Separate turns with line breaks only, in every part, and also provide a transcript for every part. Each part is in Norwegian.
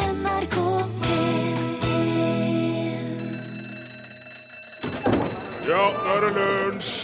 NRK P1
Ja, nå er det lunsj!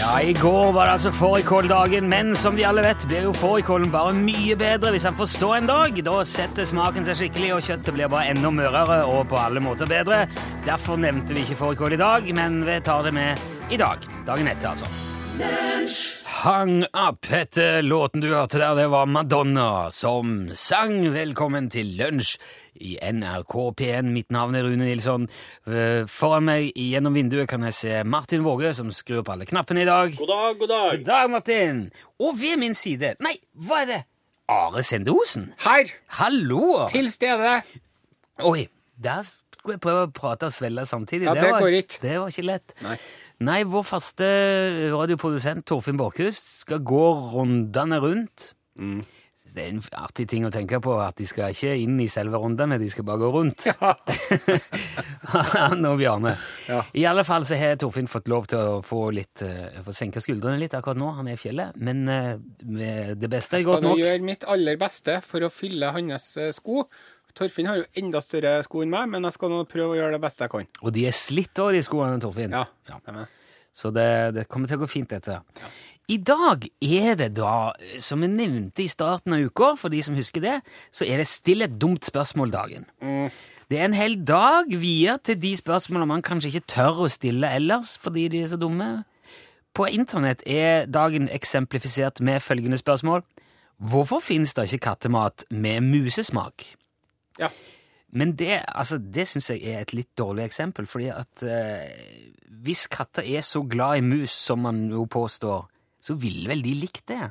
Ja, I går var det altså fårikåldagen, men som vi alle vet, blir jo fårikålen bare mye bedre hvis han får stå en dag. Da setter smaken seg skikkelig, og kjøttet blir bare enda mørere og på alle måter bedre. Derfor nevnte vi ikke fårikål i dag, men vi tar det med i dag. Dagen etter, altså. Hang up heter låten du hørte der. Det var Madonna som sang. Velkommen til lunsj i NRK P1. Mitt navn er Rune Nilsson. Eh, Foran meg gjennom vinduet kan jeg se Martin Våge, som skrur opp alle knappene i dag.
God dag, god dag.
God dag, Martin. Og ved min side Nei, hva er det? Are Sende Osen.
Her,
Hallo!
til stede.
Oi, der skulle jeg prøve å prate og svelle samtidig.
Ja, det
var,
går ikke.
Det var ikke lett.
Nei.
Nei, vår faste radioprodusent Torfinn Borchhus skal gå rundene rundt.
Mm.
Det er en artig ting å tenke på, at de skal ikke inn i selve rundene, de skal bare gå rundt. Han og Bjarne.
Ja.
I alle fall så har Torfinn fått lov til å få, litt, eh, få senka skuldrene litt akkurat nå. Han er i fjellet, men eh, med det beste er
Skal
godt
nå
nok.
gjøre mitt aller beste for å fylle hans eh, sko. Torfinn har jo enda større sko enn meg, men jeg skal nå prøve å gjøre det beste jeg kan.
Og de er slitt òg, de skoene, Torfinn.
Ja, stemmer.
Så det, det kommer til å gå fint, dette. I dag er det da, som jeg nevnte i starten av uka, for de som husker det, så er det Still et dumt spørsmål-dagen. Det er en hel dag viet til de spørsmålene man kanskje ikke tør å stille ellers fordi de er så dumme. På internett er dagen eksemplifisert med følgende spørsmål. Hvorfor finnes det ikke kattemat med musesmak?
Ja.
Men det, altså, det syns jeg er et litt dårlig eksempel, fordi at eh, hvis katter er så glad i mus som man jo påstår, så ville vel de likt det.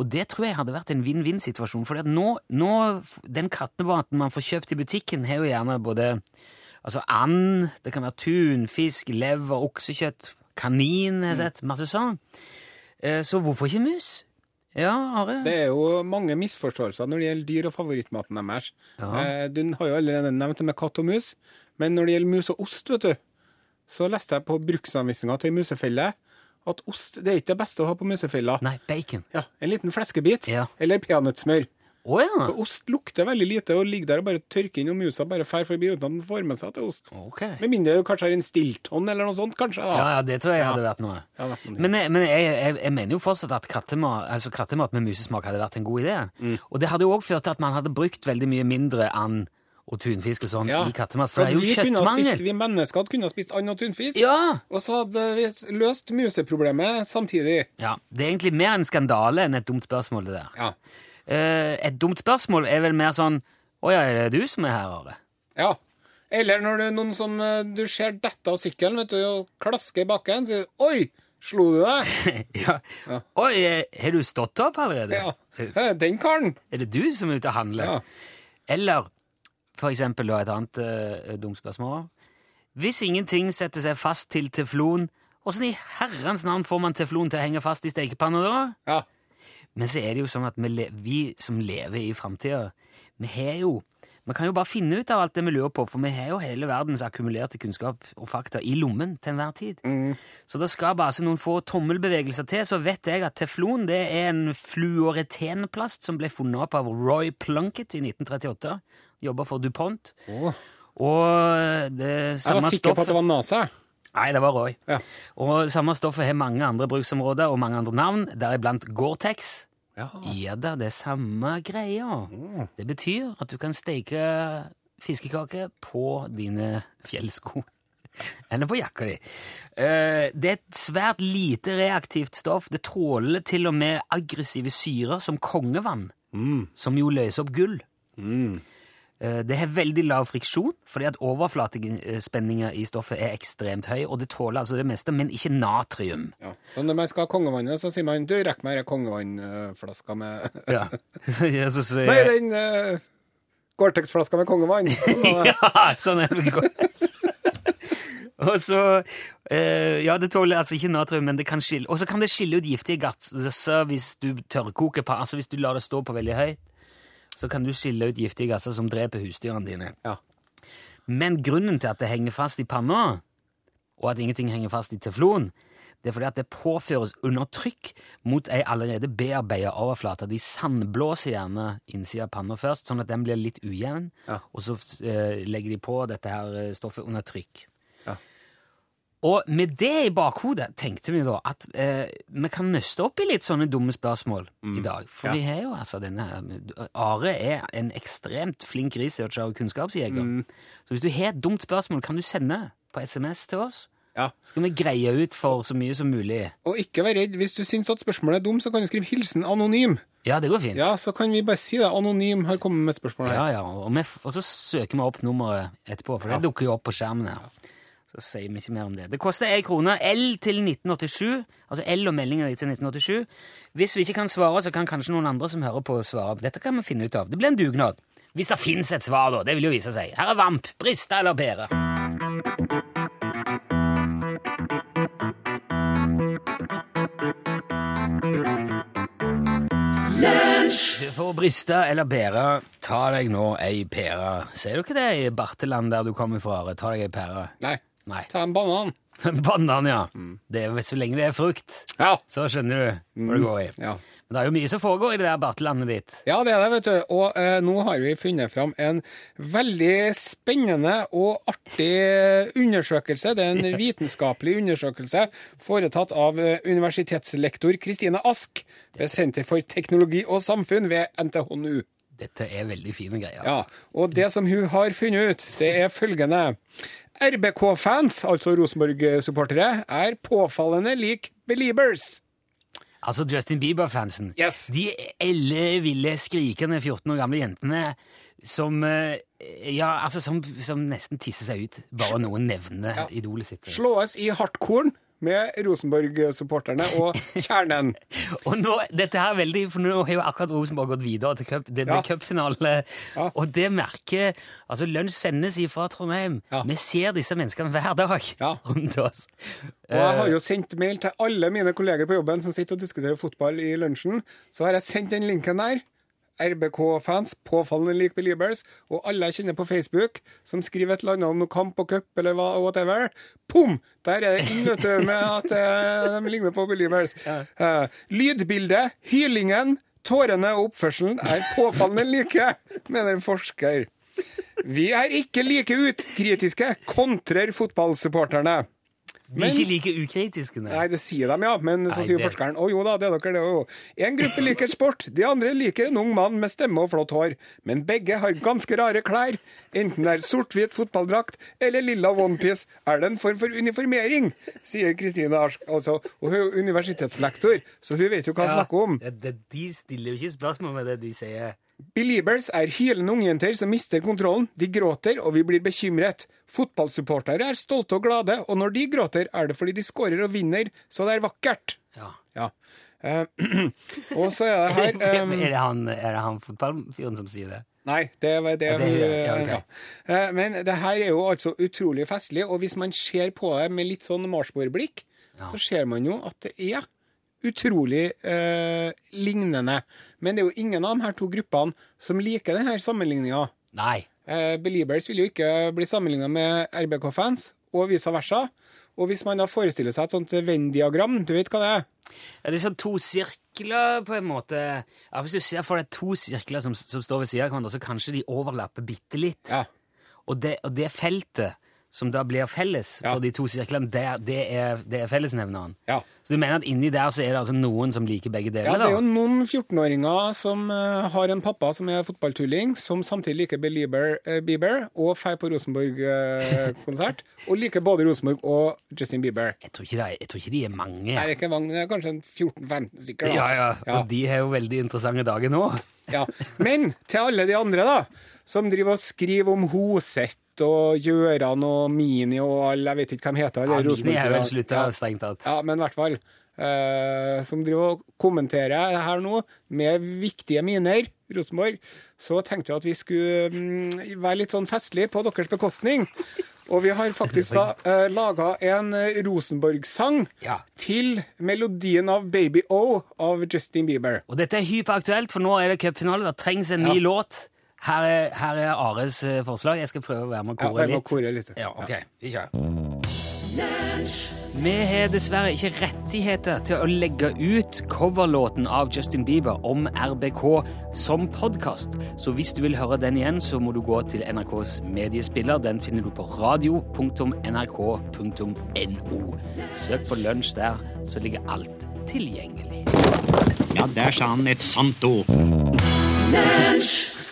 Og det tror jeg hadde vært en vinn-vinn-situasjon, for nå, nå, f- den kattematen man får kjøpt i butikken, har jo gjerne både altså and, det kan være tunfisk, lever, oksekjøtt, kanin, har jeg sett, masse sånn. Eh, så hvorfor ikke mus? Ja, Are?
Det er jo mange misforståelser når det gjelder dyr og favorittmaten deres.
Ja.
Eh, Du har jo allerede nevnt det med katt og mus, men når det gjelder mus og ost, vet du, så leste jeg på bruksanvisninga til musefelle at ost det er ikke det beste å ha på musefella.
Nei, bacon.
Ja, En liten fleskebit
Ja.
eller peanøttsmør.
Å ja,
For ost lukter veldig lite og ligger der og bare tørker inn, og musa bare fer forbi uten at den får med seg til ost.
ok.
Med mindre du kanskje har en stilton eller noe sånt, kanskje. da.
Ja, ja, det tror jeg hadde vært noe.
Ja, det hadde vært noe.
Men, jeg- men jeg, jeg, jeg mener jo fortsatt at kattemat, altså kattemat med musesmak hadde vært en god idé.
Mm.
Og det hadde jo òg ført til at man hadde brukt veldig mye mindre and og tunfisk og sånn i kattemat, for det er jo
vi kunne ha spist,
kjøttmangel.
vi mennesker hadde kunnet ha spist and og tunfisk,
Ja!
og så hadde vi løst museproblemet samtidig.
ja! Det er egentlig mer en skandale enn et dumt spørsmål, det der.
Ja.
Eh, et dumt spørsmål er vel mer sånn Å ja, er det du som er her, Are?
ja. Eller når det er noen som eh, du ser dette av sykkelen, vet du, og klasker i bakken, sier du, oi, slo du deg?
ja.
Ja.
Oi, eh, har du stått opp allerede?
Ja. Eh, Den karen.
Er det du som er ute og handler?
Ja.
Eller for eksempel da et annet uh, dumt spørsmål. Hvis ingenting setter seg fast til teflon, åssen i herrens navn får man teflon til å henge fast i stekepanna da?
Ja.
Men så er det jo sånn at vi, le vi som lever i framtida, vi har jo Vi kan jo bare finne ut av alt det vi lurer på, for vi har jo hele verdens akkumulerte kunnskap og fakta i lommen til enhver tid.
Mm.
Så det skal bare så noen få tommelbevegelser til, så vet jeg at teflon det er en fluoretenplast som ble funnet opp av Roy Plunkett i 1938. Jobba for DuPont. Og det
Jeg
samme
var sikker på
stoffet
at det var NASA.
Nei, det var Roy.
Ja.
Og samme stoffet har mange andre bruksområder og mange andre navn, deriblant Gore-Tex.
Ja.
Ja da, det er samme greia. Det betyr at du kan steke fiskekake på dine fjellsko. Eller på jakka di. Eh, Det er et svært lite reaktivt stoff. Det tåler til og med aggressive syrer som kongevann, som jo løser opp gull. Eh, Det har veldig lav friksjon, fordi at overflatespenninga i stoffet er ekstremt høy, og det tåler altså det meste, men ikke natrium.
Ja. Så når man skal ha kongevannet, så sier man du rekker meg denne kongevannflaska med
Ja. Ja, så sier
Nei,
jeg-
den uh, Gore-Tex-flaska med kongevann. Sånn var det.
Ja, sånn er det godt. Og så eh, Ja, det tåler altså ikke natrium, men det kan skille Og så kan det skille ut giftige gasser hvis du tørrkoker på Altså hvis du lar det stå på veldig høyt, så kan du skille ut giftige gasser som dreper husdyrene dine.
Ja.
Men grunnen til at det henger fast i panna, og at ingenting henger fast i teflon, Det er fordi at det påføres under trykk mot ei allerede bearbeida overflate. De sandblåser gjerne innsida av panna først, sånn at den blir litt ujevn.
Ja.
Og så eh, legger de på dette her eh, stoffet under trykk.
Ja.
Og med det i bakhodet tenkte vi da at eh, vi kan nøste opp i litt sånne dumme spørsmål i dag. For
Mm. Ja.
vi har jo altså denne her Are er en ekstremt flink researcher og kunnskapsjeger.
Mm.
Så hvis du har et dumt spørsmål, kan du sende på SMS til oss.
Ja.
Så skal vi greie ut for så mye som mulig.
Og ikke vær redd. Hvis du syns at spørsmålet er dumt, så kan du skrive 'hilsen anonym'.
Ja, det går fint.
Ja, så kan vi bare si det. Anonym har kommet med et spørsmål her.
Ja, ja, og, vi, f- og så søker vi opp nummeret etterpå, for det dukker jo opp på skjermen her. Så sier vi ikke mer om det. Det koster ei krone. L til 1987. Altså L og meldinga di til 1987. Hvis vi ikke kan svare, så kan kanskje noen andre som hører på, svare. Dette kan vi finne ut av. Det blir en dugnad. Hvis det fins et svar, da. Det vil jo vise seg. Her er Vamp, Brista eller Bære. For å briste eller bære, ta deg nå ei pære. Ser du ikke det i Barteland der du kommer fra? Are? Ta deg ei pære.
Nei.
Nei.
Ta en banan.
Banan, ja.
Mm.
Det er, så lenge det er frukt,
Ja.
så skjønner du hvor det går i.
Mm. Ja.
Men det er jo mye som foregår i det der bartelandet ditt.
Ja, det er det, vet du. Og eh, nå har vi funnet fram en veldig spennende og artig undersøkelse. Det er en vitenskapelig undersøkelse foretatt av eh, universitetslektor Kristine Ask ved Senter for teknologi og samfunn ved NTHNU.
Dette er veldig fine greier.
Ja, Og det som hun har funnet ut, det er følgende. RBK-fans, altså Rosenborg-supportere, er påfallende lik Beliebers.
Altså Justin Bieber-fansen.
Yes.
De elleville, skrikende 14 år gamle jentene som eh, Ja, altså som, som nesten tisser seg ut bare noen nevner idolet sitt.
Slåes i hardkorn med Rosenborg-supporterne og kjernen.
Og nå, dette her er veldig, for nå har jo akkurat Rosenborg gått videre til cup, det blir
Ja.
cupfinale.
Ja.
Og det merket altså Lunsj sendes ifra Trondheim.
Ja.
Vi ser disse menneskene hver dag
Ja.
rundt oss.
Og jeg har jo sendt mail til alle mine kolleger på jobben som sitter og diskuterer fotball i lunsjen. Så har jeg sendt den linken der. RBK-fans, påfallende lik Beliebers, og alle jeg kjenner på Facebook som skriver et eller annet om noe kamp og cup eller hva, whatever. Pum! Der er det inn, vet du, med at eh, de ligner på Beliebers. Eh, lydbildet, hylingen, tårene og oppførselen er påfallende like, mener en forsker. Vi er ikke like utkritiske, kontrer fotballsupporterne.
De er ikke like ukritiske. nei.
Nei, det sier de, ja. Men så
Nei,
sier
det-
forskeren å jo da, det er dere, det er jo. En gruppe liker sport, de andre liker en ung mann med stemme og flott hår. Men begge har ganske rare klær. Enten det er sort-hvit fotballdrakt eller lilla onepiece, er det en form for uniformering, sier Kristine Arsk. Altså, og hun er jo universitetslektor, så hun vet jo hva hun
Ja,
snakker om.
det- det- de stiller jo ikke spørsmål med det de sier.
Beliebers er hylende ungjenter som mister kontrollen. De gråter, og vi blir bekymret. Fotballsupportere er stolte og glade, og når de gråter, er det fordi de skårer og vinner, så det er vakkert.
Ja.
Ja. Eh, og så er
Er,
det her eh,
det han, er det han fotballfyren som sier det?
Nei, det var det,
Ja, det er det, ja,
eh,
ok.
ja. Eh, Men det her er jo altså utrolig festlig, og hvis man ser på det med litt sånn marsboerblikk, så ser man jo at det er utrolig eh, lignende. Men det er jo ingen av de her to gruppene som liker denne sammenligninga.
Nei.
Eh, Beliebers vil jo ikke bli sammenligna med RBK-fans, og vice versa. Og hvis man da forestiller seg et sånt Venn-diagram, du vet hva det er?
Ja, det er sånn to sirkler, på en måte. Ja, hvis du ser for deg to sirkler som, som står ved siden av hverandre, så kanskje de overlapper bitte litt.
Ja.
Og, det, og det feltet som da blir felles
Ja.
for de to sirklene, det, det, er, det er fellesnevneren.
ja.
Så du mener at inni der så er det altså noen som liker begge
Ja,
deler?
det
da?
er jo noen 14-åringer som eh, har en pappa som er fotballtulling, som samtidig liker Belieber, eh, Bieber og drar på Rosenborg-konsert. og liker både Rosenborg og Justin Bieber.
Jeg, tror ikke det er, jeg tror ikke de er mange.
Nei, det er ikke mange, men det er kanskje en 14-15 stykker. da.
ja, ja.
Ja.
Og de har jo veldig interessante dager nå.
Ja. Men til alle de andre, da, som driver og skriver om Hoseth og Gjøran og Mini og alle, jeg vet ikke hvem heter.
Ja,
alle
mine er vel
Rosenborg-spillerne.
slutta, strengt tatt.
Ja, men i hvert fall. eh, som driver og kommenterer det her nå, med viktige miner, Rosenborg, så tenkte vi at vi skulle mm, være litt sånn festlige på deres bekostning. Og vi har faktisk da uh, laga en eh, Rosenborg-sang
Ja.
til melodien av Baby O av Justin Bieber.
Og dette er hyperaktuelt, for nå er det cupfinale. Det trengs en ny låt. Her er, her er Ares eh, forslag. Jeg skal prøve å være med og
Ja,
kore
jeg må
litt.
kore litt.
Ja, ok. Vi kjører. Vi har dessverre ikke rettigheter til å legge ut coverlåten av Justin Bieber om RBK som podkast, så hvis du vil høre den igjen, så må du gå til NRKs mediespiller. Den finner du på radio.nrk.no. Søk på Lunsj der, så ligger alt tilgjengelig.
Ja, der sa han et sant ord.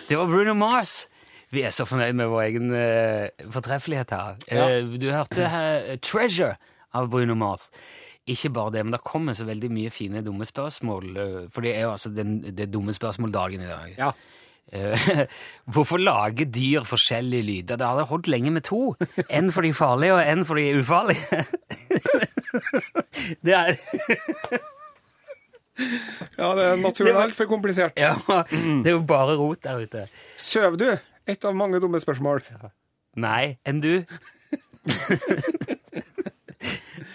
Det var Bruno Mars. Vi er så fornøyd med vår egen eh, fortreffelighet her. Eh, du hørte her, eh, 'Treasure' av Bruno Mars. Ikke bare det, men det kommer så veldig mye fine dumme spørsmål. eh, For det er jo altså den, det er dumme spørsmål-dagen i dag.
Ja.
Eh, hvorfor lager dyr forskjellige lyder? Det hadde holdt lenge med to. En for de farlige, og en for de ufarlige. det er...
ja, det er naturen er altfor komplisert.
Ja, det er jo bare rot der ute.
Søv du? Et av mange dumme spørsmål.
Nei, enn du.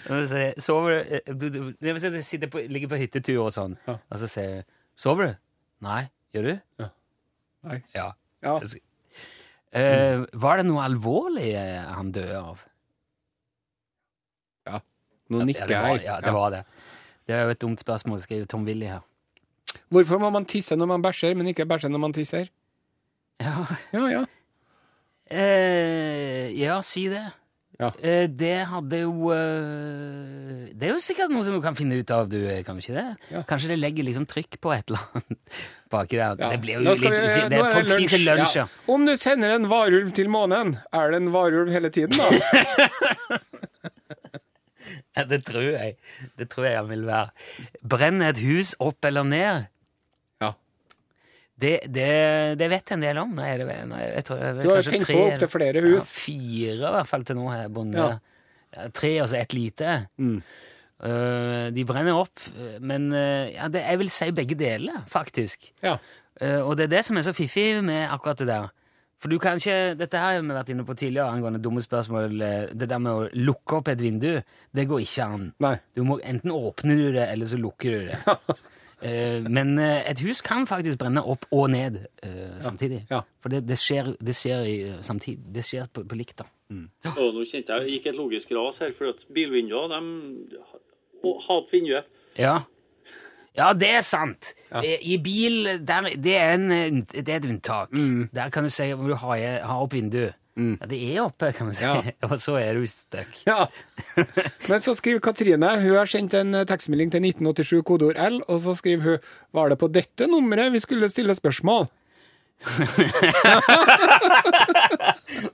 Når du sier, sover du, eh, du, du det vil si at du sitter på, ligger på hyttetur og sånn,
Ja.
og så sier du Sover du? Nei. Gjør du?
Ja. Nei.
Ja.
Ja.
Eh, var det noe alvorlig eh, han døde av?
Nå
Ja, det var, ja, det var det. Det er jo et dumt spørsmål, skriver Tom Willy her.
Hvorfor må man tisse når man bæsjer, men ikke bæsje når man tisser?
Ja,
Ja, ja.
eh, ja si det.
Ja.
Eh, det hadde jo eh, Det er jo sikkert noe som du kan finne ut av, du, eh, kan du ikke det?
Ja.
Kanskje det legger liksom trykk på et eller annet baki der.
Ja.
Det blir jo
Nå
litt
skal vi-
ufi- det
nå
er,
er
Folk
det lunsj.
spiser lunsj,
Ja.
ja.
Om du sender en varulv til månen, er det en varulv hele tiden, da?
ja. Det tror jeg. Det tror jeg han vil være. Brenn et hus opp eller ned.
Ja.
Det, det, det vet jeg en del om. Nå er det, nå er, jeg tror, jeg,
Du har
kanskje
tenkt
tre
på
eller-
opptil flere hus.
Ja, fire i hvert fall til nå her, bonde.
Ja. Mm.
Ja, tre og så ett lite. Eh, de brenner opp, eh, men eh, ja, det, jeg vil si begge deler, faktisk.
Ja.
Eh, og det er det som er så fiffig med akkurat det der. For du kan ikke, Dette her har vi vært inne på tidligere angående dumme spørsmål. eh, Det der med å lukke opp et vindu, det går ikke an.
Nei.
Du må, enten åpner du det, eller så lukker du det. Eh, men eh, et hus kan faktisk brenne opp og ned eh, samtidig.
ja.
For det, det skjer, det skjer i, eh, samtidig. Det skjer på, på likt, da.
Og nå kjente jeg gikk et logisk ras her, for at bilvinduer, de ha- har opp vinduet.
Ja. Ja, det er sant! Eh, I bil der, det, er en, eh, det er et unntak.
Mm.
Der kan du si om du har, har opp vinduet. Ja, det er oppe, kan du si.
Ja.
Og så er du stuck.
Ja. Men så skriver Katrine hun har sendt en eh, tekstmelding til 1987 kodeord L, og så skriver hun var det på dette nummeret vi skulle stille spørsmål?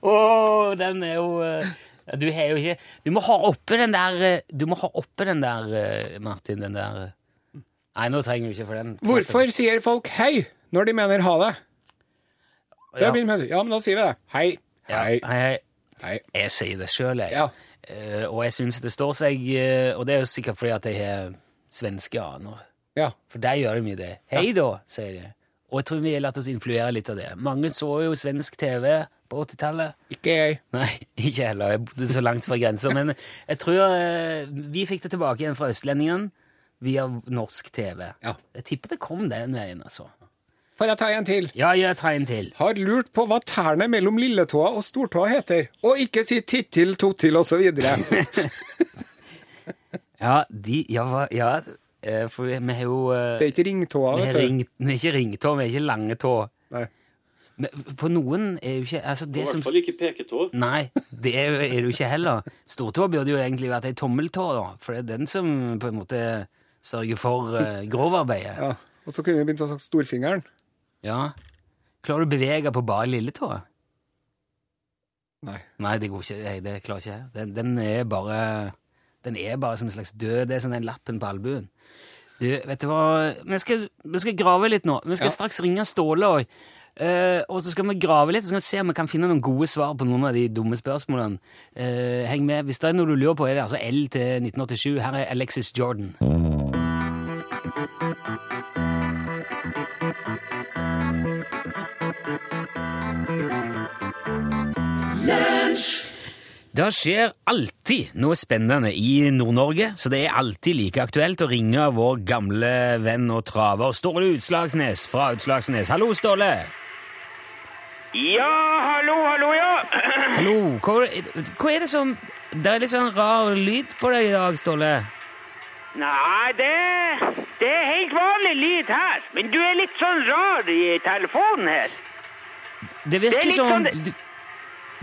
Åh, den er jo eh, ja, Du har jo ikke Du må ha oppe den der eh, Du må ha oppe den der, eh, Martin, den der eh. Nei, nå trenger du ikke for den.
Hvorfor sier folk hei når de mener ha det? Det
Ja.
begynner med Ja, men da sier vi det. Hei.
Ja,
Hei.
hei, hei.
Hei.
Jeg sier det sjøl, jeg.
Ja.
Eh, og jeg syns det står seg eh, Og det er jo sikkert fordi at jeg har svenske aner.
Ja.
For der gjør de jo det. Hei da, sier de. Og jeg tror vi har latt oss influere litt av det. Mange så jo svensk TV på 80-tallet.
Ikke jeg.
Nei, ikke heller. Jeg bodde så langt fra grensa. Men jeg tror eh, vi fikk det tilbake igjen fra østlendingen via norsk TV.
Ja.
Jeg tipper det kom den veien, altså.
Får jeg ta en til?
Ja, jeg tar en til.
Har lurt på hva tærne mellom lilletåa og stortåa heter, og ikke si tittil, totil osv.
Ja, de Ja, hva- ja eh, for vi vi har jo eh,
Det er ikke ringtåa,
Vi
vet
har
du.
ringt, vi er ikke ringtå, vi er ikke lange tå.
Nei.
Men på noen er jo ikke altså
I
det som,
hvert fall ikke peketå.
Nei, det er jo- er det jo ikke heller. Stortå burde jo egentlig vært ei tommeltå, da. For det er den som på en måte sørger for eh, grovarbeidet. Ja.
Ja. Og så kunne vi begynt å snakke storfingeren.
Klarer du å bevege på bare lilletå?
Nei.
Nei, det går ikke. Jeg, det klarer ikke jeg. Den, den er bare Den er bare som en slags død. Det er som den lappen på albuen. Du, vet du hva? Vi skal, vi skal grave litt nå. Vi skal
Ja.
straks ringe Ståle òg. Eh, og så skal vi grave litt og så skal vi se om vi kan finne noen gode svar på noen av de dumme spørsmålene. Eh, heng med. Hvis det er noe du lurer på, er det altså L til 1987. Her er Alexis Jordan. Det skjer alltid noe spennende i Nord-Norge, så det er alltid like aktuelt å ringe vår gamle venn og traver Ståle Utslagsnes fra Utslagsnes. Hallo, Ståle!
Ja, hallo, hallo, ja.
Hallo. Hva, hva er det som Det er litt sånn rar lyd på deg i dag, Ståle.
Nei, det, det er helt vanlig lyd her. Men du er litt sånn rar i telefonen her.
Det
Det er
virker
litt
som
sånn-
du,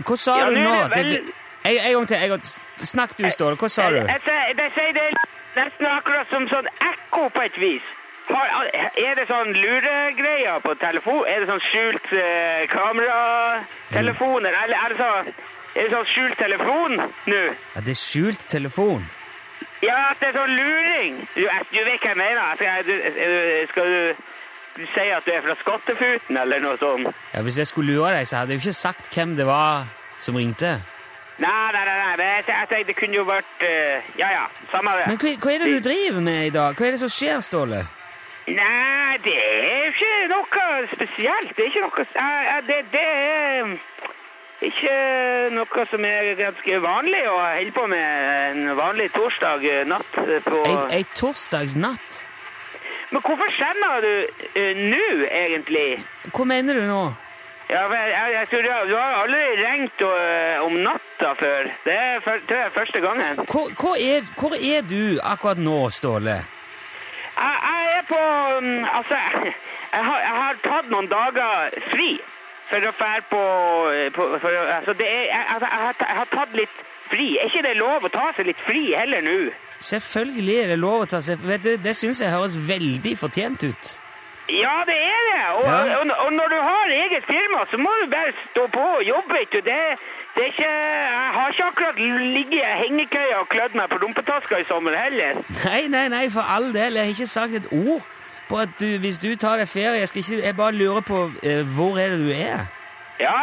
Hva sa
Ja,
du
nå
nå?
er det
Det,
vel- Eh,
en, en gang til. En gang. til. Snakk du, Ståle. Hva sa du?
Jeg, jeg, sier- jeg sier det er nesten akkurat som sånn ekko på et vis. Har, er det sånn luregreier på telefon? Er det sånn skjult eh, kameratelefoner? Eller er det sånn, er det sånn skjult telefon nå?
Ja, det er skjult telefon.
Ja, at det er sånn luring. Du, jeg- du vet hva jeg mener. Skal, jeg- du, eh, skal du, du si at du er fra Skattefuten eller noe sånt?
Ja, Hvis jeg skulle lure deg, så hadde jeg jo ikke sagt hvem det var som ringte.
Nei, nei, nei, nei. men Jeg, jeg tenkte det kunne jo vært eh, Ja, ja. Samme det.
Men hva, hva er det du driver med i dag? Hva er det som skjer, Ståle?
Nei, det er ikke noe spesielt. Det er ikke noe s- eh, eh, Det, det er um, ikke noe som er ganske vanlig å holde på med en vanlig torsdag eh, natt på
Ei, ei torsdagsnatt?
Men hvorfor skjønner du eh, nå, egentlig?
Hva mener du nå?
Ja, for jeg, jeg, jeg tror du, har- du har aldri ringt eh, om natta før. Det er, fyr- tror jeg er første gangen.
Hvor, hvor, er, hvor er du akkurat nå, Ståle?
Jeg, jeg er på mm, Altså, jeg, jeg, har, jeg har tatt noen dager fri for å fære på, på for, å- Altså, det er, jeg, altså jeg, har, ta- jeg har tatt litt fri. Er ikke det lov å ta seg litt fri heller nå?
Selvfølgelig er det lov å ta seg Vet du, Det syns jeg høres veldig fortjent ut.
Ja, det er det! Og,
Ja.
og, og når du har eget firma, så må du bare stå på og jobbe, vet du. Det, det er ikke Jeg har ikke akkurat ligget i hengekøya og klødd meg på rumpetaska i sommer heller.
Nei, nei, nei, for all del. Jeg har ikke sagt et ord på at du, hvis du tar deg ferie Jeg, skal ikke, jeg bare lurer på eh, hvor er det du er.
Ja,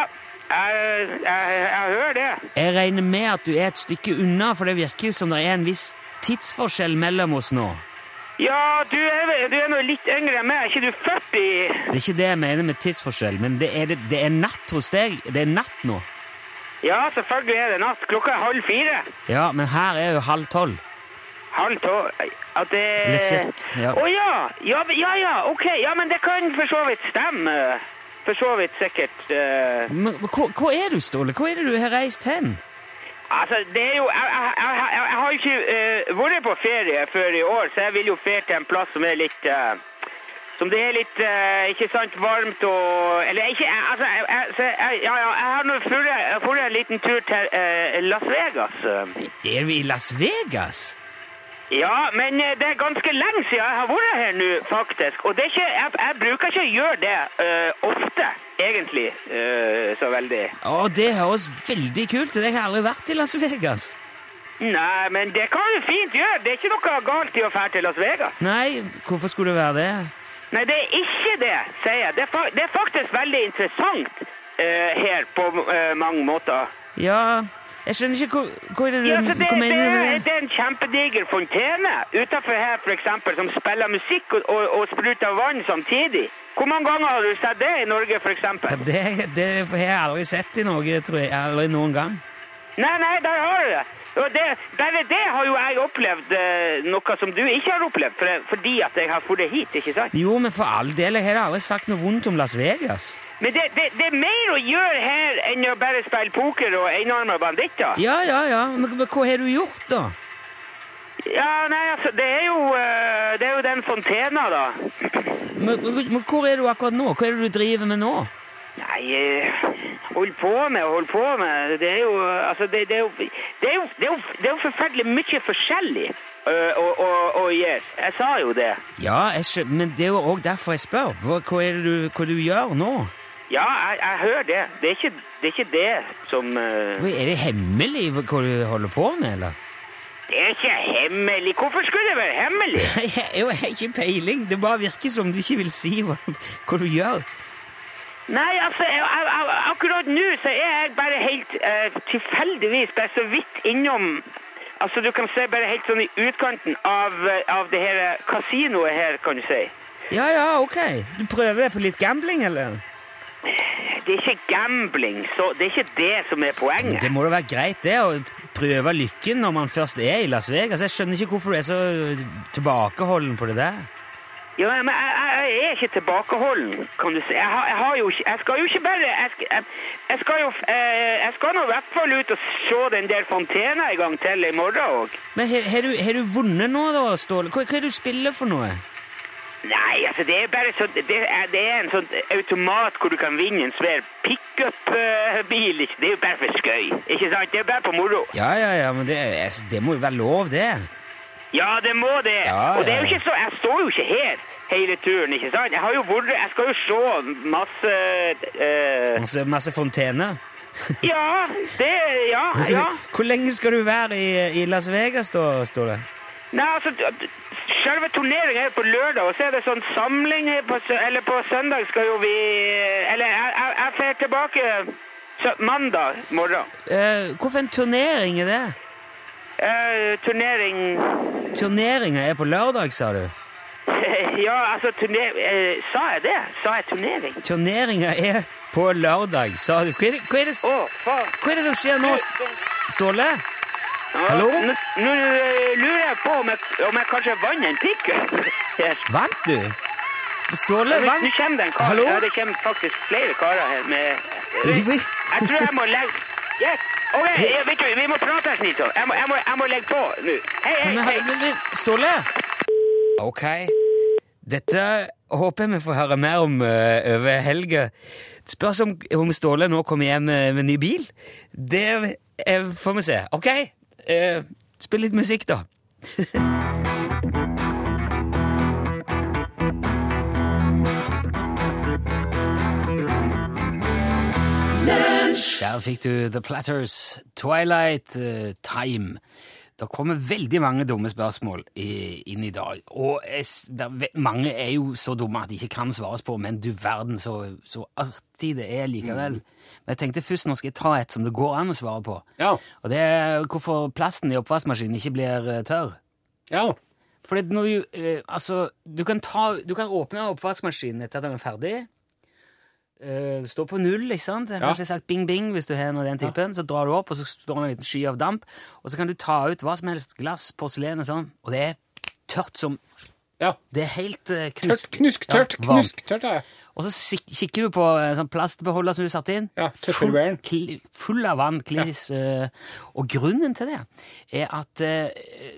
jeg, jeg, jeg hører det.
Jeg regner med at du er et stykke unna, for det virker jo som det er en viss tidsforskjell mellom oss nå.
Ja, du er, vel- du er nå litt yngre enn meg. Er ikke du født i
Det er ikke det jeg mener med tidsforskjell, men det er, det, det er natt hos deg. Det er natt nå.
Ja, selvfølgelig er det natt. Klokka er halv fire.
Ja, men her er jo halv tolv.
Halv tolv At
Eller
det
cirka, ja.
Å ja. ja! men- Ja ja, ok. Ja, men det kan for så vidt stemme. For så vidt sikkert. eh.
Men hva, hva er du, Ståle? Hvor er det du har reist hen?
altså, det er jo Jeg, jeg, jeg, jeg, jeg har jo ikke eh, vært på ferie før i år, så jeg vil jo fære til en plass som er litt eh, som det er litt eh, ikke sant, varmt og Eller ikke jeg- Altså, jeg, jeg, så jeg, ja, ja, jeg har nå dratt en liten tur til eh, Las Vegas. eh.
Er vi i Las Vegas?
Ja, men eh, det er ganske lenge siden jeg har vært her nå, faktisk. Og det er ikke, jeg, jeg bruker ikke å gjøre det eh, ofte, egentlig, eh, så veldig.
Å, det høres veldig kult ut. Jeg har aldri vært i Las Vegas.
Nei, men det kan du fint gjøre. Det er ikke noe galt i å dra til Las Vegas.
Nei, hvorfor skulle det være det?
Nei, det er ikke det, sier jeg. Det er, fa det er faktisk veldig interessant eh, her på eh, mange måter.
Ja, jeg skjønner ikke hva, hva, er det, du-
Ja, så det,
hva
det,
mener du
er,
med det?
det er en kjempediger fontene utenfor her, for eksempel, som spiller musikk og, og, og spruter vann samtidig. Hvor mange ganger har du sett det i Norge, for
Ja,
eksempel?
det, det har jeg aldri sett i Norge, tror jeg. Aldri noen gang.
Nei, nei, der har du det. Og det, bare det har jo jeg opplevd eh, noe som du ikke har opplevd, for, fordi at jeg har fått det hit, ikke sant?
Jo, men for all del, jeg har aldri sagt noe vondt om Las Vegas.
Men det, det, det er mer å gjøre her enn å bare spille poker og enarmet banditter.
Ja, ja, ja, men, men hva har du gjort, da?
Ja, nei, altså, det er jo, eh, det er jo den fontena, da.
Men, men, men hvor er du akkurat nå? Hva er det du driver med nå?
Nei, eh, hold på med, hold på med. Det er jo, eh, altså, det, det er jo, det er jo, det er jo, det er jo forferdelig mye forskjellig eh, å, å, å gjøre. Jeg sa jo det.
Ja, jeg skjø... men det er jo òg derfor jeg spør. Hva, hva er det du, hva du gjør nå?
Ja, jeg, jeg hører det. Det er ikke det, er ikke det som... eh,
Hva, er det hemmelig hva hva du holder på med, eller?
det er ikke hemmelig. Hvorfor skulle det være hemmelig?
Nei, Jeg jeg har ikke peiling. Det bare virker som du ikke vil si hva, hva du gjør.
Nei, altså, jeg, jeg, jeg, akkurat nå så er jeg bare helt eh, tilfeldigvis bare så vidt innom Altså, du kan se bare helt sånn i utkanten av, eh, av det her eh, kasinoet her, kan du si.
Ja, ja, ok. Du prøver deg på litt gambling, eller?
Det er ikke gambling, så det er ikke det som er poenget.
Det må da være greit, det, å prøve lykken når man først er i Las Vegas. Jeg skjønner ikke hvorfor du er så tilbakeholden på det der.
Ja, men jeg, jeg, jeg er ikke tilbakeholden, kan du si. Jeg, har, jeg, har jo ikke, jeg skal jo ikke bare Jeg, sk- jeg, jeg skal jo eh, Jeg skal nå i hvert fall ut og se den der fontena en gang til i morgen òg.
Men har- har du- har du vunnet nå, da, Ståle? Hva, hva er det du spiller for noe?
Nei, altså det er bare sånn det, er- det er en sånn automat hvor du kan vinne en svær pickup-bil. Det er jo bare for skøy. Ikke sant? Det er bare på moro.
Ja, ja, ja, men det, altså, det må jo være lov, det.
Ja, det må det.
Ja,
Og det er jo
ja.
ikke så Jeg står jo ikke her hele turen, ikke sant? Jeg har jo vært Jeg skal jo se masse eh,
Masse, masse fontener.
Ja, det Ja, ja.
Hvor lenge skal du være i, i Las Vegas, da, Ståle?
Nei, altså d- Selve turneringen er jo på lørdag, og så er det sånn samling her på, sø- eller på søndag skal jo vi Eller jeg, jeg, jeg fer tilbake sø- mandag morgen.
Eh, hvorfor en turnering er det?
Eh, turnering
Turneringa er på lørdag, sa du?
Ja, altså turner... eh, sa jeg det? Sa jeg turnering?
Turneringa er på lørdag, sa du. Hva er det, hva er det,
Å, faen.
hva er det som skjer nå, Ståle? Hallo?
Nå, nå eh, lurer jeg på om jeg, om jeg kanskje vant en pickup. her.
Vant du? Ståle
Hvis nå
vant?
kommer det en kar
Hallo? Eh,
Ja, det kommer faktisk flere karer her med
Ivrig?
Jeg tror jeg må legge yes. OK, ja, vet du, vi må prate en snitt. Jeg må, jeg, må, jeg må legge på nå. Hei, hei,
Men,
hei.
men, men, Ståle? Ok. Dette håper jeg vi får høre mer om eh, over helga. Det Spørs om, om Ståle nå kommer hjem eh, med, med ny bil. Det eh, får vi se. Ok? Eh, spill litt musikk, da. Der fikk du The Platters, Twilight eh, Time. Det kommer veldig mange dumme spørsmål i, inn i dag. Og jeg, s- der, ve- mange er jo så dumme at de ikke kan svares på, men du verden, så, så artig det er likevel. Men jeg tenkte først nå skal jeg ta et som det går an å svare på.
Ja.
Og det er hvorfor plasten i oppvaskmaskinen ikke blir eh, tørr.
Ja.
Fordi når du, eh, altså, du kan, ta, du kan åpne oppvaskmaskinen etter at den er ferdig. Eh, står på null, ikke sant? Jeg har
Ja.
ikke sagt bing-bing hvis du har en av den typen. Så drar du opp, og så står det en liten sky av damp. Og så kan du ta ut hva som helst, glass, porselen og sånn. Og det er tørt som
ja.
Det er helt eh,
Tørt,
knusk...
knusktørt.
Ja, varmt.
Knusktørt er jeg.
Og så sik- kikker du på en sånn plastbeholder som du satte inn.
Ja,
full,
Tupperwaren.
kli- full av vann. Kliss, eh, og grunnen til det er at eh,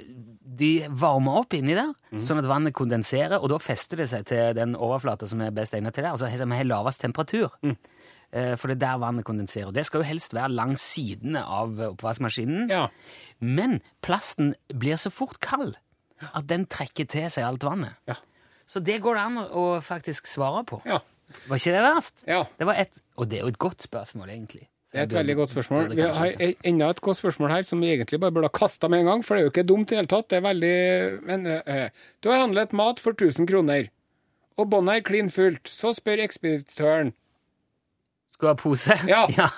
de varmer opp inni der,
Mhm.
sånn at vannet kondenserer, og da fester det seg til den overflata som er best egnet til det, altså som har lavest temperatur.
Mm.
Eh, For det er der vannet kondenserer. Det skal jo helst være langs sidene av oppvaskmaskinen.
Ja.
Men plasten blir så fort kald at den trekker til seg alt vannet.
Ja.
Så det går det an å å faktisk svare på.
Ja.
Var ikke det verst?
Ja.
Det var et, og det er jo et godt spørsmål, egentlig.
Det er et veldig godt spørsmål.
Burde
Vi
kanskje
har
ikke.
e- enda et godt spørsmål her som vi egentlig bare burde ha kasta med en gang, for det er jo ikke dumt i det hele tatt. Det er veldig Men eh, eh, du har handlet mat for 1000 kroner, og båndet er klin fullt. Så spør ekspeditøren
Skal du ha pose?
Ja,
ja.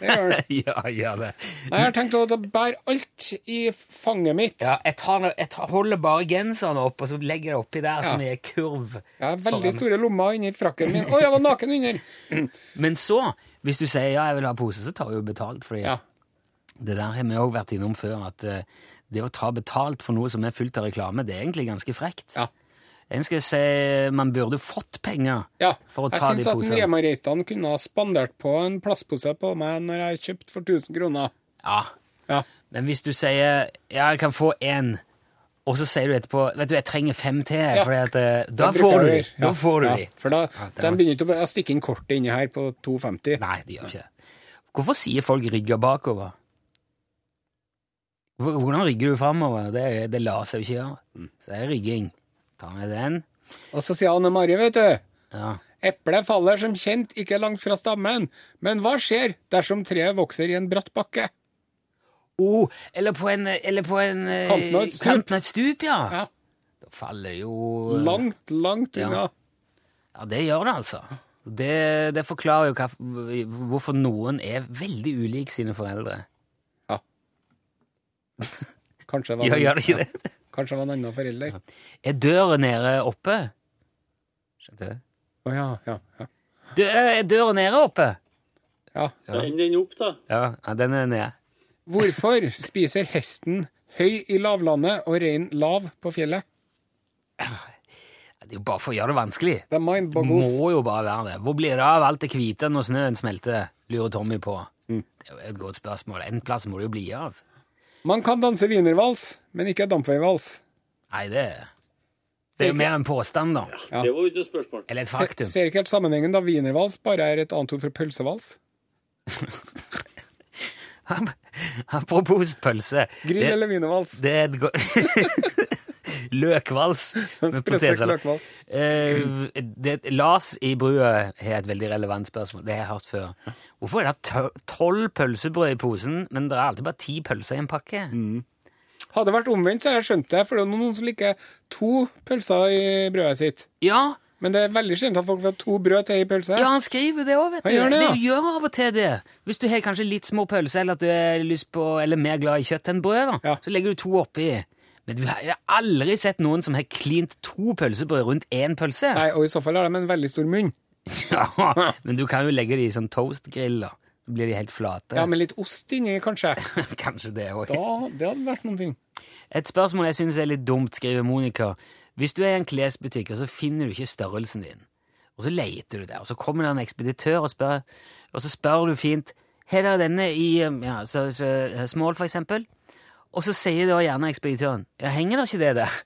gjør det.
ja, gjør det.
Nei, jeg har tenkt å bære alt i fanget mitt.
Ja, jeg, tar, jeg tar, holder bare genseren opp, og så legger jeg det oppi der som er kurv.
Jeg har veldig
Foran.
store lommer inni frakken min. Å, jeg var naken under!
Men så, hvis du sier ja, jeg vil ha pose, så tar vi jo betalt. Fordi
Ja.
det der har vi òg vært innom før, at eh, det å ta betalt for noe som er fullt av reklame, det er egentlig ganske frekt.
Ja.
En skal si man burde fått penger
Ja.
for å
Jeg
ta de
syns at
posene.
Rema Reitan kunne ha spandert på en plastpose på meg når jeg har kjøpt for 1000 kroner.
Ja.
Ja.
Men hvis du sier ja, jeg kan få én, og så sier du etterpå vet du, jeg trenger fem til,
Ja.
fordi at, eh, da,
Da
får
bruker
du de.
jeg-
da
ja,
får du
ja,
de.
For da,
det
de
var-
begynner ikke å bare stikke inn kortet inni her på 2,50.
Nei, de gjør ikke det. Hvorfor sier folk 'rygga bakover'? Hvor- Hvordan rygger du framover? Det, det lar seg jo ikke gjøre.
Mm.
Så det er rygging. Tar med den.
Og så sier Anne Marie, vet du.
Ja.
Eplet faller som kjent ikke langt fra stammen, men hva skjer dersom treet vokser i en bratt bakke?
Oh, eller på en, eller på en eh,
Kanten av et stup.
Kanten av et stup, ja.
Ja.
Da faller jo eh,
Langt, langt
Ja.
unna.
Ja, det gjør det, altså. Det, det forklarer jo hva, hvorfor noen er veldig ulik sine foreldre.
Kanskje det
Ja,
var,
gjør det ikke det?
kanskje det var en annen forelder. Å
Er døren nede oppe? Skjønte du?
ja, ja, ja.
Dø- eh, Er døren nede oppe?
ja.
Enn den opp, da.
Ja, ja, den er nede.
Hvorfor spiser hesten høy i lavlandet og rein lav på fjellet?
Det er jo bare for å gjøre det vanskelig.
Det er mind boggles.
Må jo bare være det. Hvor blir det av alt det hvite når snøen smelter, lurer Tommy på. Det er jo et godt spørsmål. En plass må det jo bli av.
Man kan danse wienervals, men ikke dampveivals.
Nei, det, det er jo mer en påstand, da.
Ja.
Det var jo ikke noe spørsmål.
Eller et
Se-
faktum.
Ser ikke helt sammenhengen da wienervals bare er et annet ord for pølsevals.
Apropos pøls.
Grill eller wienervals.
Det er et godt Løkvals. med
Sprøstekt
potetsalat.
løkvals.
Eh, det, Lars i brua har et veldig relevant spørsmål. Det har jeg hørt før. Hvorfor er det tø- tolv pølsebrød i posen, men det er alltid bare ti pølser i en pakke?
Mm. Hadde det vært omvendt, så hadde jeg skjønt det, for det er noen som liker to pølser i brødet sitt.
Ja,
Men det er veldig sjelden at folk vil ha to brød til ei pølse.
ja, han skriver det òg, vet du.
Han gjør det, ja.
gjør av og til det. Hvis du har kanskje litt små pølser, eller at du er, lyst på, eller mer glad i kjøtt enn brød, da,
Ja.
så legger du to oppi. Men du har jeg har aldri sett noen som har klint to pølsebrød rundt én pølse.
Nei, og i så fall har de en veldig stor munn.
Ja, men du kan jo legge de i sånn toastgrill, da. Så blir de helt flate.
Ja, med litt ost inni, kanskje.
Kanskje det òg.
Da, det hadde vært noen ting.
Et spørsmål jeg syns er litt dumt, skriver Monica. Hvis du er i en klesbutikk, og så finner du ikke størrelsen din, og så leter du der, og så kommer det en ekspeditør og spør, og så spør du fint Har dere denne i um, ja, størrelse eh, small, for eksempel? Og så sier da gjerne ekspeditøren Ja, henger det ikke det der?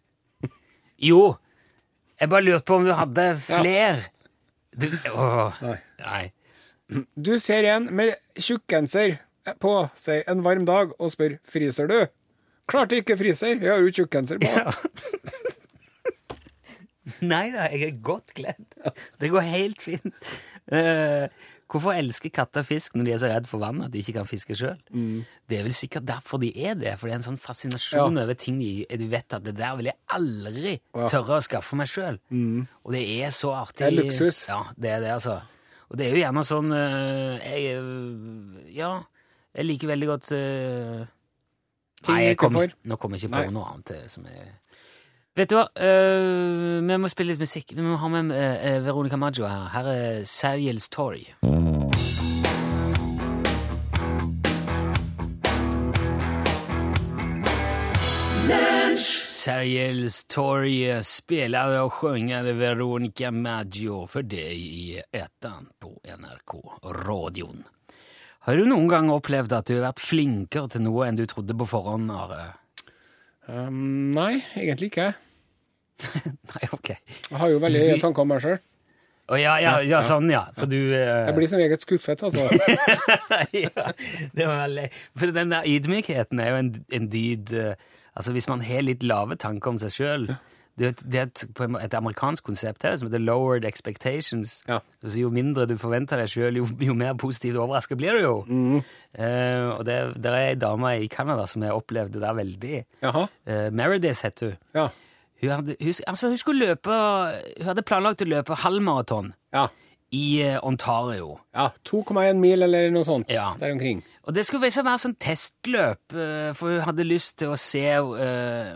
Jo. Jeg bare lurte på om du hadde fler. Du, åh,
Nei.
nei.
Du ser en med tjukkgenser på seg en varm dag og spør fryser du? Klart jeg ikke fryser, jeg har jo tjukkgenser på.
Nei da, jeg er godt kledd. Det går helt fint. Eh, hvorfor elsker katter fisk når de er så redd for vann at de ikke kan fiske sjøl?
Mm.
Det er vel sikkert derfor de er det, for det er en sånn fascinasjon
Ja.
over ting de, du vet at det der vil jeg aldri tørre å skaffe meg sjøl. Og det er så artig.
Mm. Det er luksus.
Ja, det er det, altså. Og det er jo gjerne sånn eh, jeg, eh, Ja, jeg liker veldig godt eh,
Ting
Nei,
du
jeg
ikke
kom,
får.
nå kommer jeg ikke
Nei.
på noe annet eh, som er Vet du hva, Eh, vi må spille litt musikk. Vi må ha med eh, Veronica Maggio her. Her er Sergels Torg. Sergels Torg eh, spiller og synger Veronica Maggio for deg i ettan på NRK Radioen. Har du noen gang opplevd at du har vært flinkere til noe enn du trodde på forhånd, Are?
Um, nei, egentlig ikke.
Nei, ok.
Jeg har jo veldig høye tanker om meg sjøl.
Å ja, ja, ja, sånn, ja. Så du eh,
Jeg blir som regel skuffet, altså.
ja, det var veldig... For den der ydmykheten er jo en, en dyd eh, Altså, hvis man har litt lave tanker om seg sjøl det er, et, det er et, på en må- et amerikansk konsept her som heter lowered expectations.
Ja.
Altså, jo mindre du forventer deg sjøl, jo, jo mer positivt overraska blir du jo. Eh, og det, der er ei dame i Canada som har opplevd det der veldig.
Jaha.
Eh, Meredith heter hun.
Ja.
Hun, hadde, hun, altså, hun, skulle løpe, hun hadde planlagt å løpe halvmaraton
Ja.
i eh, Ontario.
ja. 2,1 mil eller noe sånt
Ja.
der omkring.
Og det skulle liksom være sånn testløp, eh, for hun hadde lyst til å se eh,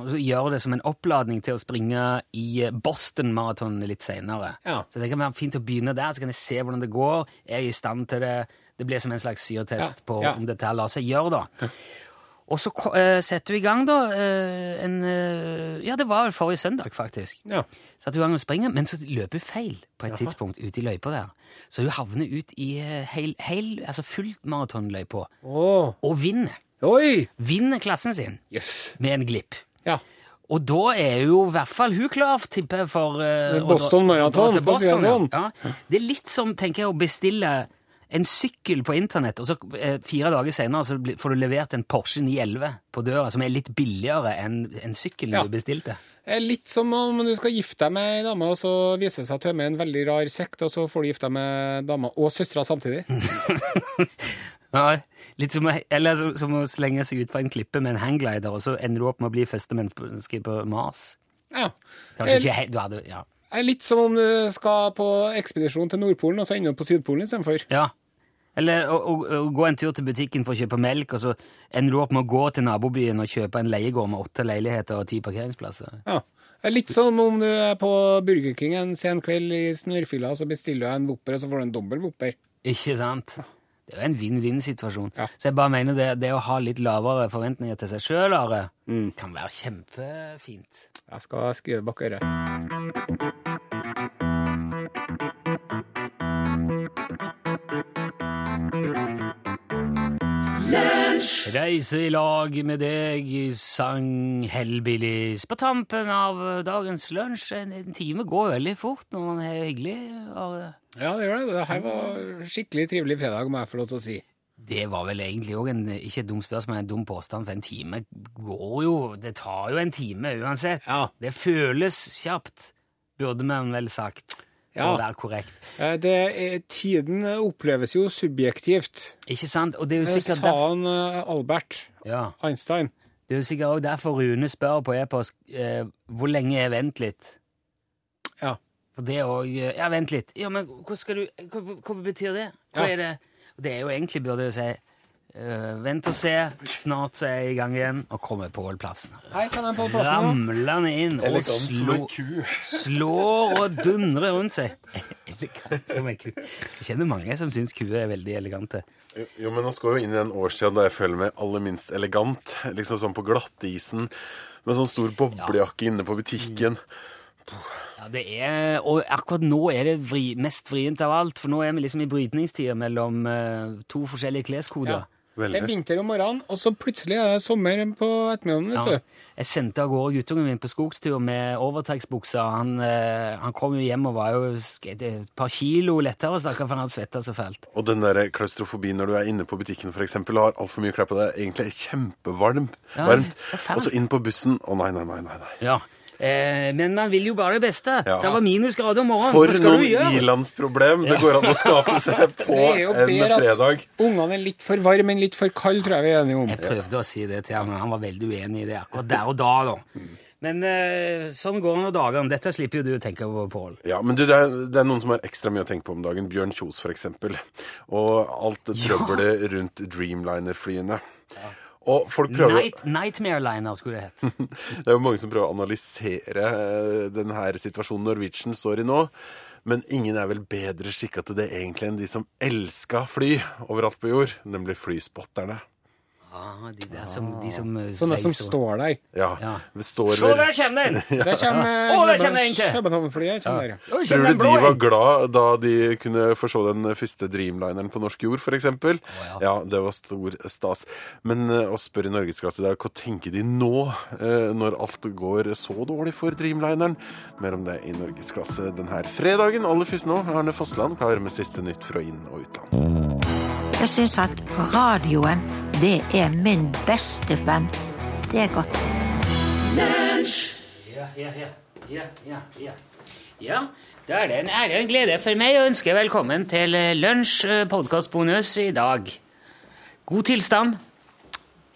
altså Gjøre det som en oppladning til å springe i eh, Boston-maratonen litt seinere.
Ja.
Så det kan være fint å begynne der, så kan jeg se hvordan det går. Er jeg i stand til det? Det blir som en slags syretest
Ja,
på
ja.
om dette her lar seg gjøre, da. Og så ko- eh, setter hun i gang, da. eh, en, eh, ja, det var vel forrige søndag, faktisk.
Ja.
Så at hun ganger springer, men så løper hun feil på et tidspunkt ute i løypa der. Så hun havner ut i eh, heil, heil, altså full maratonløypa
Åh.
og vinner.
Oi!
Vinner klassen sin
Jøss.
med en glipp.
Ja.
Og da er jo i hvert fall hun klar, tipper jeg, for eh, å
Med
dra-
Boston Marathon,
å dra til
for å si det
Boston, ja.
sånn.
Ja. Det er litt som, tenker jeg, å bestille en sykkel på internett, og så eh, fire dager senere så blir- får du levert en Porsche 911 på døra, som er litt billigere enn en sykkelen
Ja.
du bestilte.
Det er litt som om du skal gifte deg med ei dame, og så viser det seg at hun er med i en veldig rar sekt, og så får du gifte deg med dama og søstera samtidig.
Ja, litt som å, eller som, som å slenge seg ut fra en klippe med en hangglider, og så ender du opp med å bli første menneske på Mars.
Ja.
Kanskje
Det
ikke helt, du hadde, ja.
er litt som om du skal på ekspedisjon til Nordpolen, og så ender du på Sydpolen istedenfor.
ja. Eller å, å, å gå en tur til butikken for å kjøpe melk, og så ender du opp med å gå til nabobyen og kjøpe en leiegård med åtte leiligheter og ti parkeringsplasser.
Ja. Det er litt som om du er på Burger King en sen kveld i snørrfylla, og så bestiller du en Wopper, og så får du en dobbel Wopper.
Ikke sant? Det er jo en vinn-vinn-situasjon.
Ja.
Så jeg bare mener det, det å ha litt lavere forventninger til seg sjøl, Are, kan være kjempefint.
Jeg skal skrive bak øret.
Reise i lag med deg, sang Hellbillies. På tampen av eh, dagens lunsj. En, en time går veldig fort når man er hyggelig. Are.
Ja, det gjør det. Det her var skikkelig trivelig fredag, må jeg få lov til å si.
Det var vel egentlig òg en ikke et dumt spørsmål, men en dum påstand, for en time går jo Det tar jo en time uansett.
Ja.
Det føles kjapt, burde man vel sagt. For
Ja.
å være korrekt.
Eh, Det, er- tiden oppleves jo subjektivt.
Ikke sant? Og det er jo
Det
sikkert
sa
derfor,
han eh, Albert
ja.
Einstein.
det er jo sikkert også derfor Rune spør på e-post eh, hvor lenge er vent litt.
Ja.
For det òg Ja, vent litt. Ja, men hva skal du Hva, hva betyr det? Hva
Ja.
er det? Det er jo egentlig, burde jeg si, eh, vent og se, snart så er jeg i gang igjen, og kommer på plassen.
Hei, kan jeg få plassen nå?
Ramlende inn og slår, slår og dundrer rundt seg. Elegant som en ku. Jeg kjenner mange som syns kuer er veldig elegante.
Jo, jo, men nå skal jo inn i den årstida da jeg føler meg aller minst elegant. Liksom sånn på glattisen, med sånn stor boblejakke inne på butikken.
Ja, det er, og akkurat nå er det vri, mest vrient av alt, for nå er vi liksom i brytningstida mellom eh, to forskjellige
Ja.
kleskoder.
Det er
Veldig.
vinter om morgenen, og så plutselig er det sommer på ettermiddagen, vet
Ja.
du.
Jeg sendte av gårde guttungen min på skogstur med overtrekksbuksa. Han, eh, han kom jo hjem og var jo sk- et par kilo lettere, stakkar, for han hadde svetta så fælt.
Og den der klaustrofobien når du er inne på butikken for eksempel, og har altfor mye klær på deg, egentlig er kjempevarmt.
Ja,
varmt.
det er fælt.
Og så inn på bussen. Å nei, nei, nei. nei, nei.
Ja. Eh, men man vil jo bare det beste.
Ja.
Det var minusgrader om morgenen.
For
Hva skal
noen
du gjøre?
ilandsproblem det går an å skape seg på
Det er jo
en
bedre
fredag.
at ungene er litt for varme, men litt for kalde, tror jeg vi er enige om.
Jeg prøvde å si det til ham, men han var veldig uenig i det akkurat der og da. da. Men eh, sånn går det noen dager. Men Dette slipper jo du å tenke på, Pål.
Ja, men du, det er, det er noen som har ekstra mye å tenke på om dagen. Bjørn Kjos, for eksempel. Og alt det trøbbelet rundt Dreamliner-flyene. Og folk prøver Mm.
Night, nightmare liner skulle det hett.
Det er jo mange som prøver å analysere eh, den her situasjonen Norwegian står i nå. Men ingen er vel bedre skikka til det egentlig enn de som elska fly overalt på jord, nemlig flyspotterne.
Ah, de der som, de som eh,
Sånne som
reiser-
står der.
Ja.
Ja.
det Står
Se, der
vel
kommer den!
Der
Å,
kommer
der kommer det en til!
København-flyet. kommer der, ja.
Oi,
Tror
kjenner
du
den
de
blå
var
en.
glad da de kunne få se den første Dreamlineren på norsk jord, f.eks.?
ja.
ja. ja, det var stor stas. Men eh, oss spør i Norgesklasse i dag hva tenker de nå, eh, når alt går så dårlig for Dreamlineren? Mer om det i Norgesklasse denne fredagen. Aller først nå, Arne Fossland klarer med siste nytt fra inn- og utland.
Jeg syns at radioen, det er min beste venn. Det er godt.
Ja, ja, ja. Ja, ja, ja. Ja, da er det en ære og en glede for meg å ønske velkommen til eh, Lunsj eh, podcastbonus i dag. God tilstand.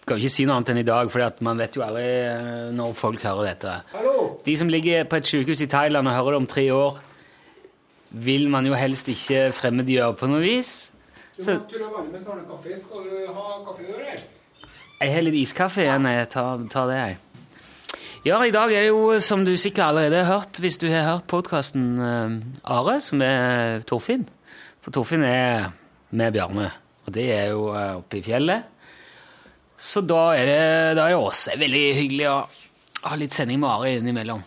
Skal jo ikke si noe annet enn i dag, for man vet jo aldri eh, når folk hører dette. De som ligger på et sykehus i Thailand og hører det om tre år, vil man jo helst ikke fremmedgjøre på noe vis. Så
Skal du ha kaffe i dag,
jeg har litt iskaffe igjen. Jeg tar, tar det, jeg. Ja, i dag er det jo, som du sikkert allerede har hørt, hvis du har hørt podkasten Are, som er Torfinn. For Torfinn er med Bjarne, og det er jo eh, oppe i fjellet. Så da er det, da er det oss. Det er veldig hyggelig å ha litt sending med Are innimellom.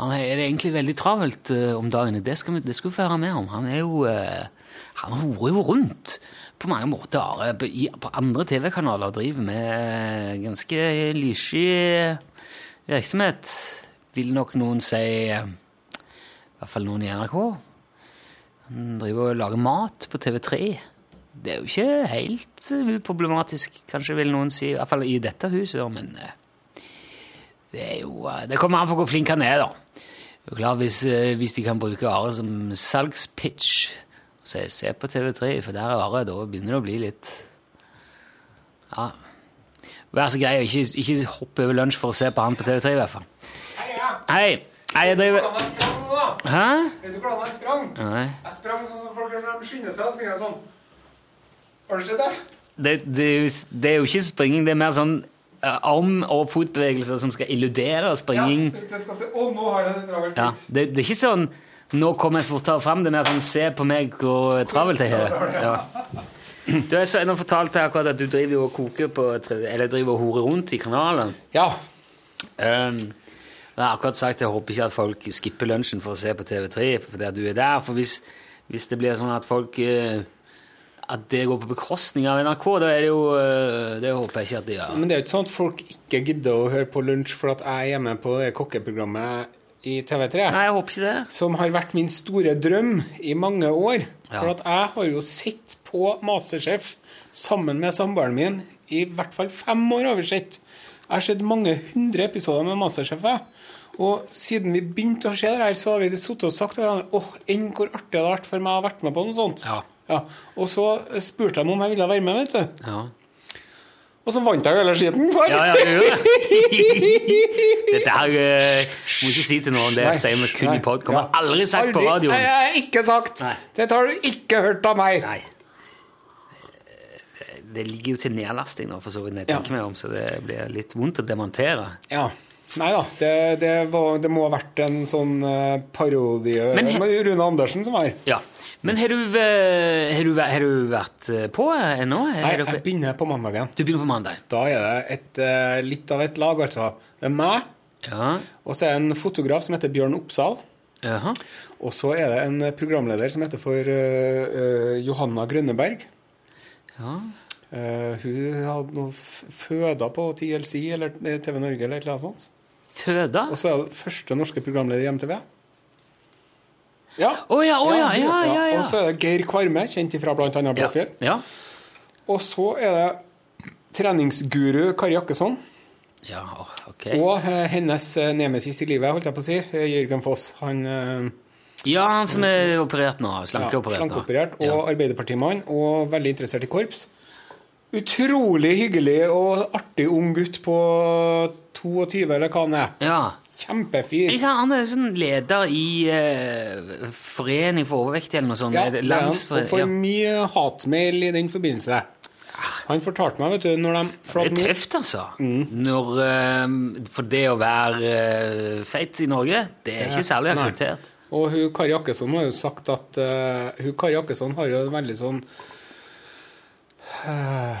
Han er det egentlig veldig travelt eh, om dagene. Det skal, vi, det skal vi få høre mer om. Han er jo eh, Han horer jo rundt på mange måter, Are. På, i, på andre TV-kanaler og driver med eh, ganske lyssky eh, virksomhet, vil nok noen si. eh, I hvert fall noen i NRK. Han driver og lager mat på TV3. Det er jo ikke helt eh, uproblematisk, kanskje vil noen si. I hvert fall i dette huset, da, men eh, det, er jo, eh, det kommer an på hvor flink han er, da. Det er jo klart, hvis, eh, hvis de kan bruke Are som salgspitch og si 'se på TV3', for der er Are, da begynner det å bli litt Ja. Vær så grei og ikke, ikke hoppe over lunsj for å se på han på TV3, i hvert fall. Hei. Hei, jeg driver
Jeg sprang nå, da!
Hæ?
Vet du hvordan jeg sprang?
Nei.
Jeg sprang sånn som folk gjør når de skynder seg. og springer de sånn. Har du sett det?
Det, det, er jo- det er jo ikke springing, det er mer sånn eh, arm- og fotbevegelser som skal illudere springing.
Ja, det skal se. Å, nå har jeg det travelt.
Ja, det, det er ikke sånn 'nå kommer jeg fortere fram', det er mer sånn 'se på meg hvor travelt jeg har det'. Ja. Du, jeg sa- nå fortalte jeg akkurat at du driver jo og koker på tre- Eller driver og horer rundt i kanalen.
Ja.
Um, jeg har akkurat sagt at jeg håper ikke at folk skipper lunsjen for å se på TV3 fordi at du er der. For hvis, hvis det blir sånn at folk eh, At det går på bekostning av NRK, da er det jo eh, Det håper jeg ikke at de gjør.
Men det er jo ikke sånn at folk ikke gidder å høre på lunsj for at jeg er hjemme på det kokkeprogrammet i TV3.
Nei, jeg håper ikke det.
Som har vært min store drøm i mange år.
Ja.
For at jeg har jo sett på Masterchef sammen med samboeren min i hvert fall fem år. har vi sett. Jeg har sett mange hundre episoder med Masterchef. jeg. Og siden vi begynte å se det her, så har vi sittet og sagt til hverandre åh, enn hvor artig det hadde vært for meg å ha vært med på noe sånt.
Ja.
Og så spurte de om jeg ville være med, vet du.
Ja.
Og så vant jeg jo hele skiten. sant?
Ja, ja, du gjør det. Dette her eh, må ikke si til noen det
Nei.
jeg sier vi kun i
Nei.
pod. Kommer
Ja.
aldri sagt på
Aldri. Nei,
radioen.
jeg har ikke sagt.
Nei.
Dette har du ikke hørt av meg.
Nei. Eh, Det ligger jo til nedlasting nå, for så vidt, når jeg
Ja.
tenker meg om, så det blir litt vondt å demontere.
Ja. Nei da, det, det, var, det må ha vært en sånn eh, parodie
Men he-
Det var jo Rune Andersen som var
Ja. Men har du, eh, har du, væ- har du vært eh, på eh, ennå?
Nei,
Har du-
jeg begynner på mandagen.
Du begynner på mandag.
Da er det et, eh, litt av et lag, altså. Det er meg,
Ja.
og så er det en fotograf som heter Bjørn Oppsal.
Jaha.
Og så er det en programleder som heter for eh, eh, Johanna Grønneberg.
Ja.
Eh, hun hadde noe f- føda på TLC eller TV Norge eller et eller annet sånt.
Føda?
Og så er det første norske programleder i MTV. Ja.
Å ja, å ja, ja, ja, ja.
Og så er det Geir Kvarme, kjent ifra bl.a.
Ja.
Blåfjell.
Ja.
Og så er det treningsguru Kari Jakkesson
ja, ok.
og eh, hennes eh, nemesis i livet, holdt jeg på å si, eh, Jørgen Foss. Han eh,
Ja, han som er operert nå.
ja,
Slankeoperert. nå.
slankeoperert og
Ja.
arbeiderpartimann og veldig interessert i korps. Utrolig hyggelig og artig ung gutt på 22, eller hva han er.
ja.
Kjempefyr.
Ikke sant, han er sånn leder i eh, Forening for overvektige eller noe sånt.
Ja,
er det
det er han.
landsfore-
Og får mye hatmail i den forbindelse. Han fortalte meg, vet du, når de
ja.
for
Det
at
er
nå-
tøft, altså.
Mm.
Når, eh, for det å være eh, feit i Norge, det er ikke særlig
Nei.
akseptert.
Og hun Kari Akkesson har jo sagt at eh, Hun Kari Akkesson har jo en veldig sånn eh,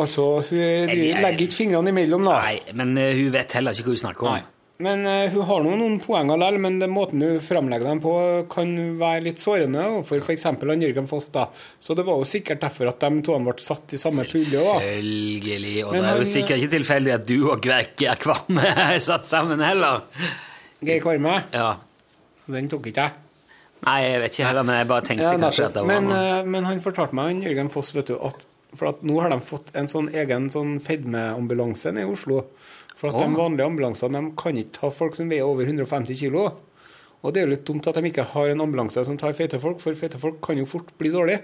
Altså, hun
jeg-
legger ikke fingrene imellom, da.
Nei, men eh, hun vet heller ikke hva hun snakker om.
Nei. Men eh, hun har nå noen poenger likevel, men den måten hun framlegger dem på, kan være litt sårende overfor f.eks. han Jørgen Foss, da. Så det var jo sikkert derfor at de to ble satt i samme pulje òg.
Følgelig. Og
Men
det er
han-
jo sikkert ikke tilfeldig at du og Kverke er kvamme er satt sammen heller.
Geir Kvarme.
Ja.
Den tok ikke jeg.
Nei, jeg vet ikke heller, men jeg bare tenkte
Ja,
kanskje
nettopp.
at det var
men,
noe.
eh, men han fortalte meg, han Jørgen Foss, vet du, at, for at nå har de fått en sånn egen sånn fedmeambulanse nede i Oslo. For at de vanlige ambulansene de kan ikke ta folk som veier over 150 kilo. Og det er jo litt dumt at de ikke har en ambulanse som tar feite folk, for feite folk kan jo fort bli dårlige.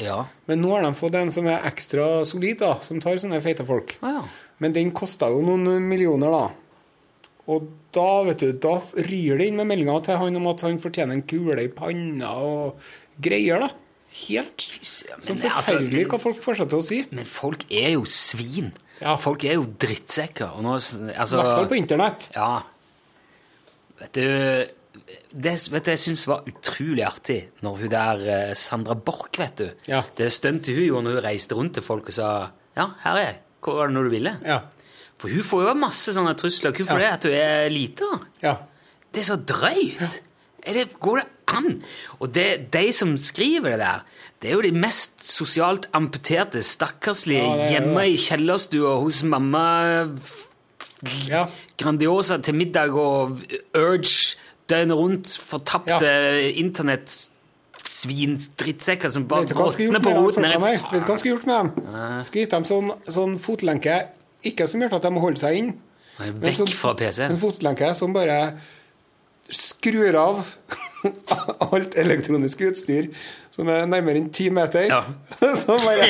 Ja.
Men nå har de fått en som er ekstra solid, da, som tar sånne feite folk.
Å, ja.
Men den kosta jo noen millioner, da. Og da vet du, da ryr det inn med meldinga til han om at han fortjener en kule i panna og greier, da. Helt
søren,
så
men det er altså-
forferdelig hva folk fortsetter å si.
Men folk er jo svin.
Ja.
Folk er jo drittsekker. Og nå, altså,
I hvert fall på internett.
Ja. Vet du, det vet du, jeg syns var utrolig artig når hun der eh, Sandra Borch, vet du.
Ja.
Det stuntet hun gjorde når hun reiste rundt til folk og sa Ja, her er jeg. Hvor var det når du ville?
Ja.
For hun får jo masse sånne trusler. Kun for
Ja.
det at hun er lita.
ja.
Det er så drøyt! Er det, går det an? Og det, de som skriver det der, det er jo de mest sosialt amputerte, stakkarslige,
Ja, det er det.
hjemme i kjellerstua hos mamma
Ja.
Grandiosa til middag og Urge døgnet rundt, fortapte internettsvin-drittsekker som bare
Vet du hva han
råtner
skulle gjort
på
med dem?
roten.
folka
Nei,
der? Vet du hva han skulle gjort med dem? Skulle gitt dem sånn, sånn fotlenke, ikke som gjør at de må holde seg inn,
faen.
Men
Vekk
sånn-
fra PC-en.
En fotlenke som bare skrur av alt elektronisk utstyr som er nærmere enn ti meter.
Ja.
Så bare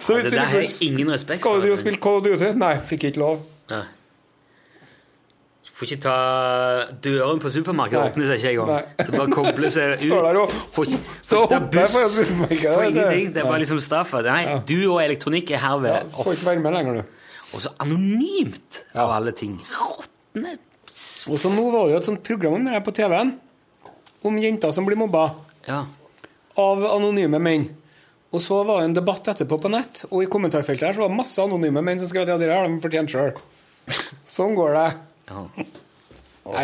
Så
Det
hvis du
der har jeg
liksom
ingen respekt
Skal du jo
altså.
spille Call of Duty? Nei, fikk ikke lov.
Nei. Du får ikke ta døren på supermarkedet,
Nei.
åpner seg ikke engang.
Nei.
Du bare kobler seg ut.
Står der og-
får ikke,
står
får
og
ikke ta
hopper
buss,
foran supermarkedet,
får
vet du.
ingenting. Det er
Nei.
bare liksom straffa. Nei, du og elektronikk er
Ja,
herved
får
off.
ikke være med lenger, du.
Og så anonymt, av alle ting. Råtne s-
Og så nå var det jo et sånt program om det her på TV-en, om jenter som blir mobba
Ja.
av anonyme menn. Og så var det en debatt etterpå på nett, og i kommentarfeltet her så var det masse anonyme menn som skrev at ja, dere har de fortjent sjøl. Sånn går det. Ja,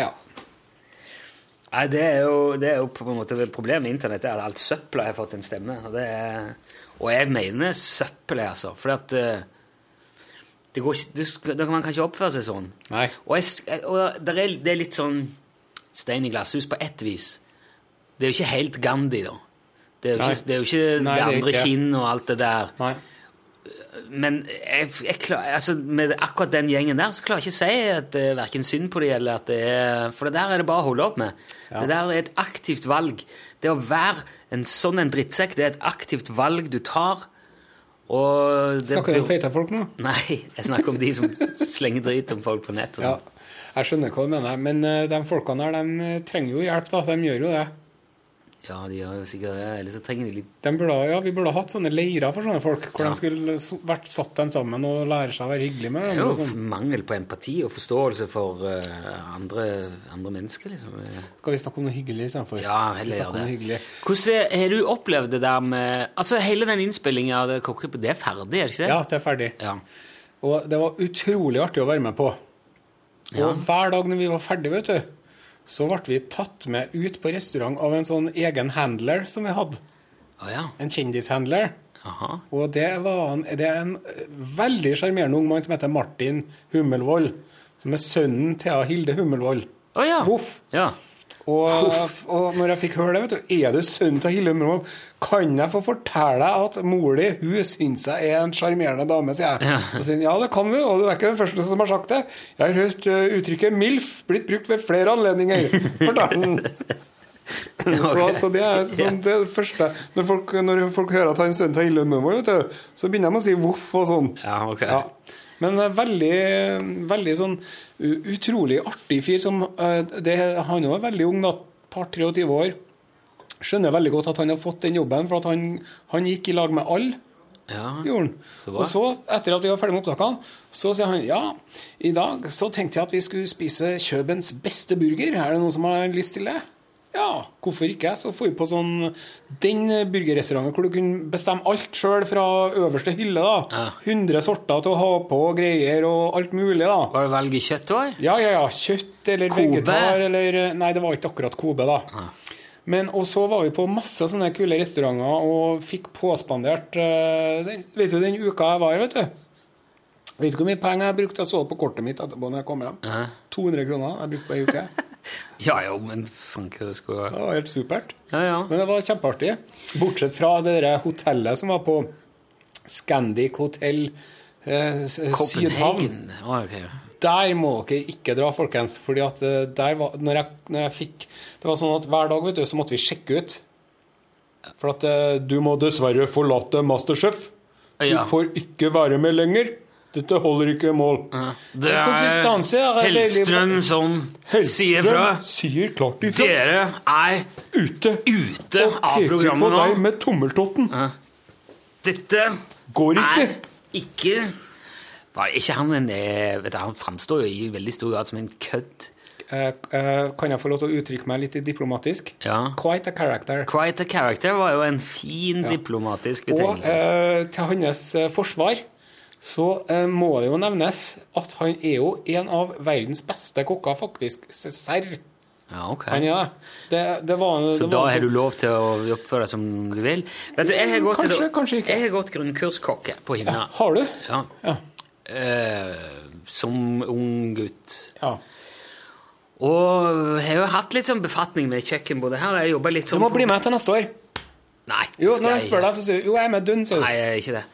ja.
Nei, det er, jo, det er jo på en måte problemet med internett, er at alt søppelet har fått en stemme. Og, det er, og jeg mener søppelet, altså. For at eh, det går, ikke- du, skal- Da kan man kanskje oppføre seg sånn.
Nei.
Og, jeg, sk- og der er, det er litt sånn stein i glasshus på ett vis. Det er jo ikke helt Gandhi, da. Det er jo
Nei.
ikke det, er jo ikke
Nei,
det
det er
andre
ikke.
kinn og alt det der.
Nei.
Men jeg, jeg klar, altså, med akkurat den gjengen der så klarer jeg ikke å si at det er verken synd på det eller at det er For det der er det bare å holde opp med. Det der er et aktivt valg. Det å være en sånn en drittsekk, det er et aktivt valg du tar. Og det
Snakker du om feite folk nå?
Nei, jeg snakker om de som slenger drit om folk på nett. Og
Ja.
sånn.
Jeg skjønner hva du mener, men eh, de folkene her, de eh, trenger jo hjelp, da. De gjør jo det.
ja, de gjør jo sikkert det. Eller så trenger de litt
De burde, ha- ja, vi burde ha hatt sånne leirer for sånne folk, hvor
Ja.
de skulle s- vært satt dem sammen og lære seg å være hyggelig med
Det er
dem.
jo
og sånn.
mangel på empati og forståelse for eh, andre, andre mennesker, liksom.
Skal vi snakke om noe hyggelig istedenfor?
Ja,
Vi
heller gjør
snakker om
det.
noe
sånn
hyggelig.
Hvordan eh, har du opplevd det der med Altså, hele den innspillingen av det kokke... Det er ferdig, er det ikke det?
Ja, det er ferdig.
Ja.
Og det var utrolig artig å være med på. Og
Ja.
hver dag når vi var ferdige, vet du, så ble vi tatt med ut på restaurant av en sånn egen handler som vi hadde.
Å ja.
En kjendishandler.
Aha.
Og det, var en, det er en veldig sjarmerende ung mann som heter Martin Hummelvold. Som er sønnen til Hilde Hummelvold.
Å ja.
Voff.
Ja.
Og, og når jeg fikk høre det, vet du Er du sønnen til Hilde Hummelvold? Kan jeg få fortelle deg at mor di hun syns jeg er en sjarmerende dame, sier jeg.
Ja.
Og sier, han, ja, det kan du, og du er ikke den første som har sagt det. Jeg har hørt eh, uttrykket MILF blitt brukt ved flere anledninger. Fortalte han. Så,
Ok.
så det er sånn, det, er det første når folk, når folk hører at han er sønnen til Hilde Hummelvold, vet du, så begynner de å si voff og sånn.
Ja, ok.
Ja. Men eh, veldig, veldig sånn u- utrolig artig fyr som eh, det, Han er veldig ung, da. Par 23 år. Skjønner veldig godt at han har fått den jobben, for at han, han gikk i lag med alle.
ja.
Gjorde han.
Så bra.
og så, etter at vi var ferdig med opptakene, så sier han ja, i dag så tenkte jeg at vi skulle spise Kjøbens beste burger. Er det noen som har lyst til det? Ja, hvorfor ikke? Så får vi på sånn den burgerrestauranten hvor du kunne bestemme alt sjøl fra øverste hylle. da. 100 sorter til å ha på og greier og alt mulig, da.
Var det valg i kjøtt òg?
Ja, ja, ja. Kjøtt eller
Kobe?
vegetar eller eh, Nei, det var ikke akkurat Kobe, da. Men, og så var vi på masse sånne kule restauranter og fikk påspandert eh, den, Vet du den uka jeg var her, vet du? Vet du hvor mye penger jeg brukte? Jeg så det på kortet mitt etterpå når jeg kom hjem. 200 kroner jeg brukte på ei uke.
Ja jo, men fanken, det skulle
Det var helt supert.
Ja ja.
Men det var kjempeartig. Bortsett fra det der hotellet som var på Scandic hotell eh, s- Sydhavn.
Copenhagen. Å, ok.
Der må dere ikke dra, folkens. Fordi at eh, der var Når jeg, når jeg fikk Det var sånn at hver dag, vet du, så måtte vi sjekke ut. For at eh, Du må dessverre forlate Masterchef. Du
Ja.
får ikke være med lenger. Dette holder ikke mål.
Det er
Konsistanse er veldig-
Hellstrøm som sier fra.
Hellstrøm sier klart ifra.
Dere er
Ute.
ute av
Og peker på
programmet nå.
deg med tommeltotten.
Dette
Går ikke.
er ikke Var ikke han en eh, vet du, Han framstår jo i veldig stor grad som en kødd.
Eh, eh, kan jeg få lov til å uttrykke meg litt diplomatisk?
Ja.
Quite a character.
Quite a character var jo en fin diplomatisk
Og
betegnelse.
eh, til hans eh, forsvar så eh, må det jo nevnes at han er jo en av verdens beste kokker, faktisk. Serr.
ja, ok.
Han er det. det. Det var
Så
det
da
var,
har du lov til å oppføre deg som du vil? Vet du, jeg har gått,
Kanskje, kanskje ikke.
Jeg har gått grunnkurs kokke på Hinna.
Har du?
Ja.
Ja.
Eh, som ung gutt.
ja.
Og jeg har jo hatt litt sånn befatning med kjøkken både her og jeg jobber litt
Du
sånn
må
på-
bli med til neste år.
Nei,
Jo,
skal
når jeg spør
ikke.
deg, så sier du jo, jeg er med dønn, sier du.
Nei, jeg er ikke det.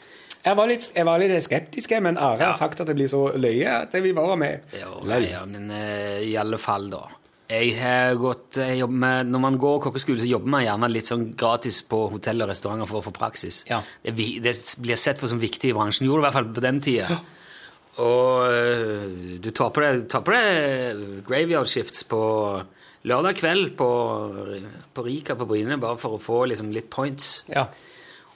Jeg var litt, jeg var litt skeptisk, jeg, men Are
Ja.
har sagt at det blir så løye at jeg vil være med.
Jo, nei, ja, men eh, i alle fall, da. Jeg har gått, jeg jobber med, når man går kokkeskole, så jobber man gjerne litt sånn gratis på hotell og restauranter for å få praksis.
Ja.
Det, vi- det blir sett på som viktig i bransjen. Gjorde det i hvert fall på den tida. Og eh, du tar på deg, tar på deg graveyard shifts på lørdag kveld på, på Rika på Bryne, bare for å få liksom, litt points.
Ja.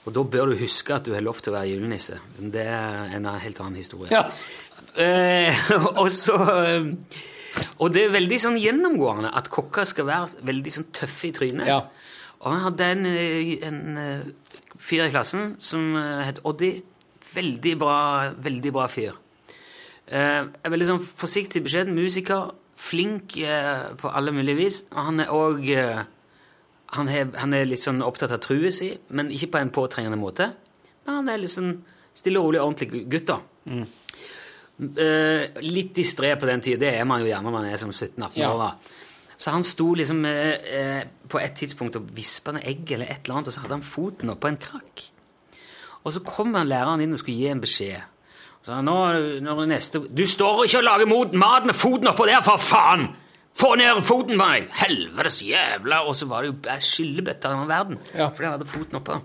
Og da bør du huske at du har lov til å være julenisse. Men Det er en helt annen historie.
Ja.
Eh, og så eh, Og det er veldig sånn gjennomgående at kokker skal være veldig sånn tøffe i trynet.
Ja.
Og han hadde en, eh, en eh, fyr i klassen som eh, het Oddi. Veldig bra, veldig bra fyr. Eh, en veldig sånn forsiktig beskjed. Musiker. Flink eh, på alle mulige vis. Og han er òg eh, han, er- han er litt sånn opptatt av trua si, men ikke på en påtrengende måte. Men han er litt sånn stille og rolig, ordentlig gutt, da. Eh, litt distré på den tida. Det er man jo gjerne når man er som 17-18
Ja.
år. da. Så han sto liksom eh, eh, på et tidspunkt og vispa ned egg eller et eller annet, og så hadde han foten oppå en krakk. Og så kom han læreren inn og skulle gi en beskjed. Og så sa han, nå, når det neste... Du står ikke og lager mot mat med foten oppå der, for faen! Få ned foten på meg! Helvetes jævla! Og så var det jo bæ- skyllebøtter i verden.
Ja.
Fordi han hadde foten oppå.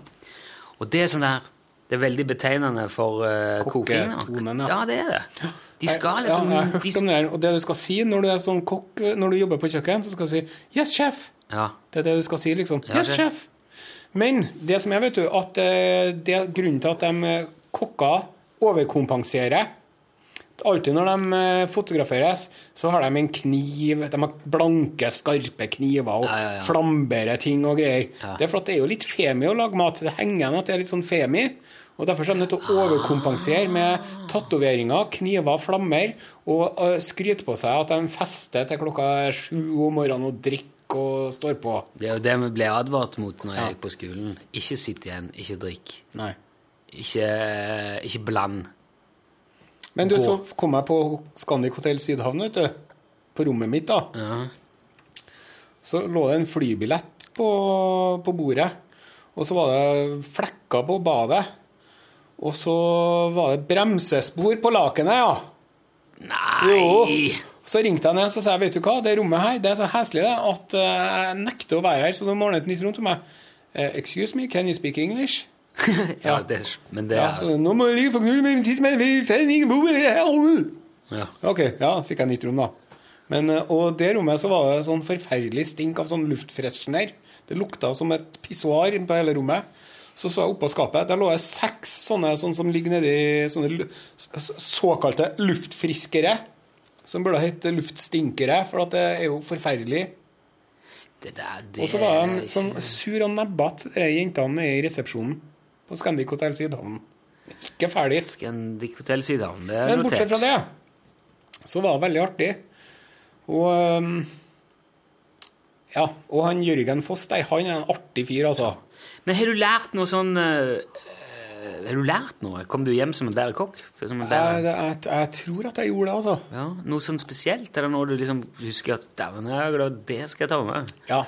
Og det er sånn der... Det er veldig betegnende for uh, koking. da.
Koketonen, ja.
ja, det er det. De skal liksom...
ja, jeg har hørt
de,
om det der. Og det du skal si når du er sånn kokk, når du jobber på kjøkken, så skal du si 'Yes, chef'.
Ja.
Det er det du skal si, liksom.
Ja,
yes,
det-
sjef! Men det som er, vet du, at eh, det er grunnen til at de eh, kokker overkompenserer Alltid når de eh, fotograferes, så har de en kniv. De har blanke, skarpe kniver og
Ja, ja, ja.
flamberer ting og greier.
Ja.
Det er for at det er jo litt femi å lage mat. Det henger igjen at det er litt sånn femi. Og derfor så er de nødt til å overkompensere med tatoveringer, kniver, flammer, og eh, skryte på seg at de fester til klokka sju om morgenen og drikker og står på.
Det er jo det vi ble advart mot når jeg
Ja.
gikk på skolen. Ikke sitt igjen, ikke drikk,
Nei.
ikke, ikke bland.
Men du, så kom jeg på Scandic Hotel Sydhavn, vet du. På rommet mitt, da.
Ja.
Så lå det en flybillett på, på bordet. Og så var det flekker på badet. Og så var det bremsespor på lakenet, ja.
Nei!
Så ringte jeg ned og sa jeg, vet du hva, det rommet her det er så heslig det, at eh, jeg nekter å være her, så du må ordne et nytt rom til meg. «Eh, excuse me, can you speak English?
Ja, det, men det
Ja,
er
så nå må jeg ligge for knull med min tidsmenn, vi finner ingen bo her.
ja.
Ok, ja, fikk jeg nytt rom da. Men, eh, og det rommet så var det sånn forferdelig stink av sånn luftfreshner. Det lukta som et pissoar inn på hele rommet. Så så jeg oppå skapet, der lå det seks sånne, sånn som ligger nedi sånne lu- s- s- såkalte luftfriskere. Som burde hete luftstinkere, for at det er jo forferdelig.
Det der, det
Og så var
er
de
ikke-
sånn sur og nebbete, de jentene nede i resepsjonen på Scandic Hotel Sydhavn. Ikke ferdig.
Scandic Hotel Sydhavn, det er
Men
notert.
bortsett fra det, så var det veldig artig. Og øhm, ja, og han Jørgen Foss der, han er en artig fyr, altså.
Men har du lært noe sånn eh, eh, Har du lært noe? Kom du hjem som en bedre kokk? Som en
Jeg,
bedre,
jeg, jeg tror at jeg gjorde det, altså.
ja, noe sånn spesielt? Er det noe du liksom husker at Dæven, jeg er glad det skal jeg ta med?
Ja.